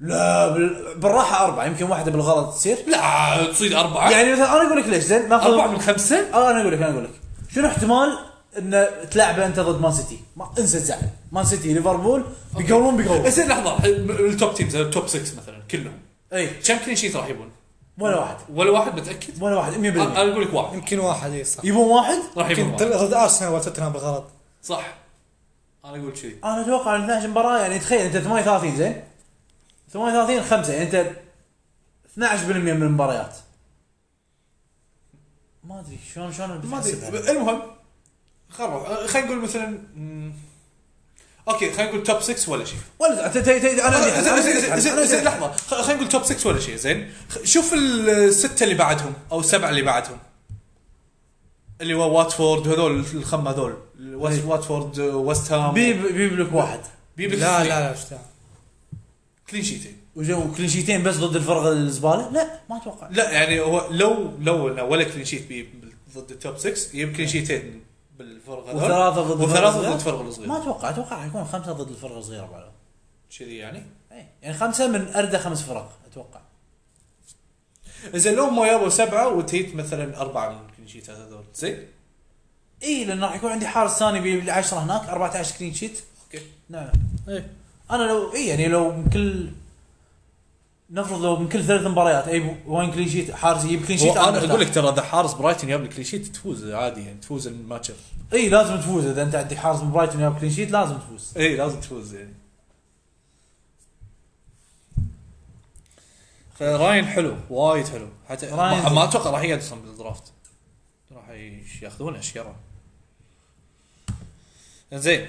S1: لا بال... بالراحه اربعه يمكن واحده بالغلط تصير
S2: لا تصيد اربعه
S1: يعني مثلا انا اقول لك ليش زين ناخذ
S2: اربعه من خمسه
S1: آه انا اقول لك انا اقول لك شنو احتمال ان تلعبه انت ضد مان سيتي ما انسى تزعل مان سيتي ليفربول بيقولون بيقولون
S2: إيه، زين لحظه التوب تيمز التوب 6 مثلا كلهم
S1: اي
S2: كم كلين شيت راح يبون؟
S1: ولا واحد
S2: ولا واحد متاكد؟
S1: ولا واحد 100%
S2: انا اقول لك واحد
S3: يمكن واحد اي صح
S1: يبون واحد
S2: راح يبون
S3: يمكن
S2: واحد
S3: ضد ارسنال ولا توتنهام بالغلط
S2: صح انا اقول كذي
S1: انا اتوقع ان 12 مباراه يعني تخيل انت 38 زين 38 5 يعني انت 12% من المباريات ما ادري شلون يعني؟ شلون
S2: ما
S1: بتحسبها.
S2: ادري المهم خلينا نروح خلينا نقول مثلا مم، اوكي خلينا نقول توب 6 ولا شيء
S1: ولا أنت- أنت- أنت- انا عندي حل،
S2: زين
S1: أنا
S2: زين-
S1: عندي
S2: زين-
S1: حل، أنا
S2: زين-
S1: عندي
S2: زين،
S1: حل.
S2: لحظه خ- خلينا نقول توب 6 ولا شيء زين خ- شوف السته اللي بعدهم او السبعه اللي بعدهم اللي هو واتفورد هذول الخمه هذول
S1: إيه.
S2: واتفورد ويست هام
S1: بيب بيب لك واحد
S2: بيبك
S3: لا لا لا شو تعمل؟
S2: كلين شيتين
S1: وجو كلين شيتين بس ضد الفرق الزباله لا ما اتوقع
S2: لا يعني هو لو لو إنه ولا كلين شيت بيب ضد التوب 6 يجيب كلين شيتين بالفرق هذول
S1: وثلاثه ضد
S2: وثلاثه
S1: الفرق
S2: ضد فرق
S1: الصغيرة. ما
S2: الصغير
S1: اتوقع اتوقع حيكون خمسه ضد الفرق الصغيره بعد
S2: كذي يعني
S1: إيه. يعني خمسه من اردى خمس فرق اتوقع
S2: زين لو ما جابوا سبعه وتيت مثلا اربعه من الكلين شيتات هذول زين
S1: اي لان إيه، راح يكون عندي حارس ثاني بيجيب لي 10 هناك 14 كلين شيت
S2: اوكي
S1: نعم
S3: إيه.
S1: انا لو اي يعني لو من كل نفرض لو من كل ثلاث مباريات اي وين كلين شيت حارس يجيب كلين شيت
S2: انا اقول لك ترى اذا حارس برايتن جاب لك كلين شيت تفوز عادي يعني تفوز الماتش
S1: اي إيه، لازم تفوز اذا انت عندك حارس من برايتون يجيب كلين شيت لازم تفوز
S2: اي لازم تفوز يعني فراين حلو وايد حلو حتى
S1: راين
S2: ما, ما اتوقع راح يقعد اصلا بالدرافت راح يش- ياخذونه شيره زين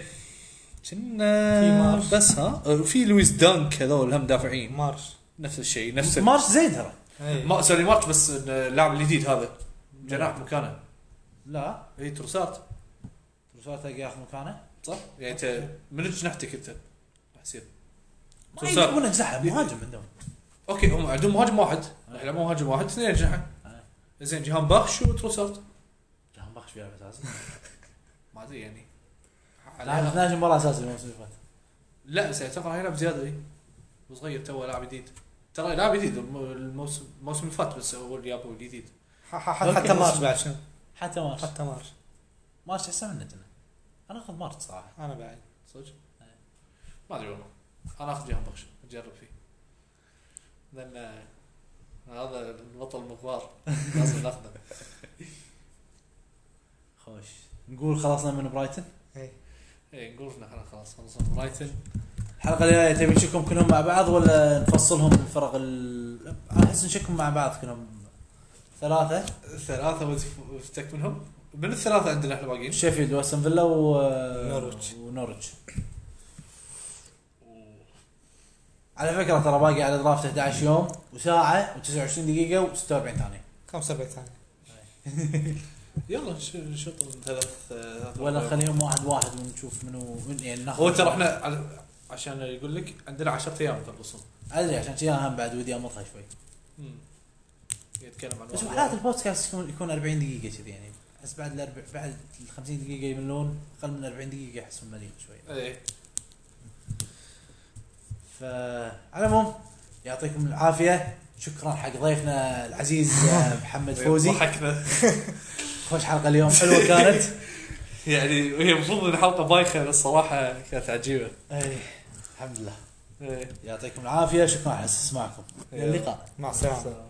S2: كنا
S3: في مارش.
S2: بس ها أه، في لويس دانك هذول هم دافعين
S3: مارش
S2: نفس الشيء نفس ال...
S1: مارش زين ترى
S3: إيه.
S2: ما سوري مارش بس إن اللاعب الجديد هذا جناح مكانه
S1: لا
S2: اي تروسارت
S1: تروسارت ياخذ مكانه
S2: صح؟ يعني انت من جناحتك انت راح يصير
S1: ما
S2: تروسارت.
S1: يجيبون اجزحه مهاجم عندهم
S2: اوكي هم عندهم مهاجم واحد راح يلعبون مهاجم واحد اثنين اجنحه
S1: آه.
S2: زين جيهان باخش وتروسارت
S1: جهان بخش بيلعب اساسي
S2: ما ادري يعني
S1: لعب
S2: على-
S1: 12 مباراه اساسي الموسم اللي فات
S2: لا بس يعني اتوقع راح يلعب زياده اي وصغير إيه. تو لاعب جديد ترى لاعب جديد الم- الموسم الموسم اللي فات بس هو اللي جابه الجديد
S3: ح- ح- حتى مارش بعد شنو؟
S1: حتى مارش
S3: حتى مارش
S1: مارش احسن منه جنة. انا اخذ مارش صراحه
S3: انا بعد
S2: صدق؟ إيه.
S1: آه.
S2: ما ادري والله انا اخذ جيهان باخش اجرب فيه لان آه، هذا البطل مغوار لازم ناخذه
S1: خوش نقول خلصنا من برايتن
S2: اي إيه، نقول احنا خلاص خلصنا برايتن
S1: الحلقه الجايه تبي نشكهم كلهم مع بعض ولا نفصلهم فرق ال انا احس نشكهم مع بعض كلهم ثلاثه
S2: ثلاثه وتف- وتفتك منهم من الثلاثه عندنا احنا باقيين
S1: شيفيلد واستون فيلا و
S3: نورويتش.
S1: ونورتش على فكره ترى باقي على درافت 11 يوم وساعه و29 دقيقه و46 ثانيه
S3: 45 ثانية
S2: يلا نش- نشوط من ثلاث ثلاث
S1: ولا
S2: أرباع.
S1: نخليهم واحد واحد ونشوف منو من يعني ناخذ
S2: طيب. هو ترى احنا على- عشان يقول لك عندنا 10 ايام تخلصون
S1: ادري عشان كذا أنا هم بعد ودي امطها شوي
S2: يتكلم عن
S1: بس
S2: واحد
S1: حلقات
S2: واحد.
S1: البودكاست يكون يكون 40 دقيقة كذي يعني احس بعد الأربع بعد ال 50 دقيقة يملون اقل من 40 دقيقة احس مليت شوي
S2: ايه
S1: فعلى العموم يعطيكم العافية شكرا حق ضيفنا العزيز آه، محمد
S2: أيوة،
S1: فوزي
S2: ضحكنا
S1: خوش حلقة اليوم حلوة كانت
S2: يعني هي المفروض ان الحلقه بايخه بس صراحه كانت عجيبه
S1: أي، الحمد لله
S2: ايه
S1: يعطيكم العافية شكرا على استسماعكم إلى اللقاء
S3: مع السلامة
S2: سلام.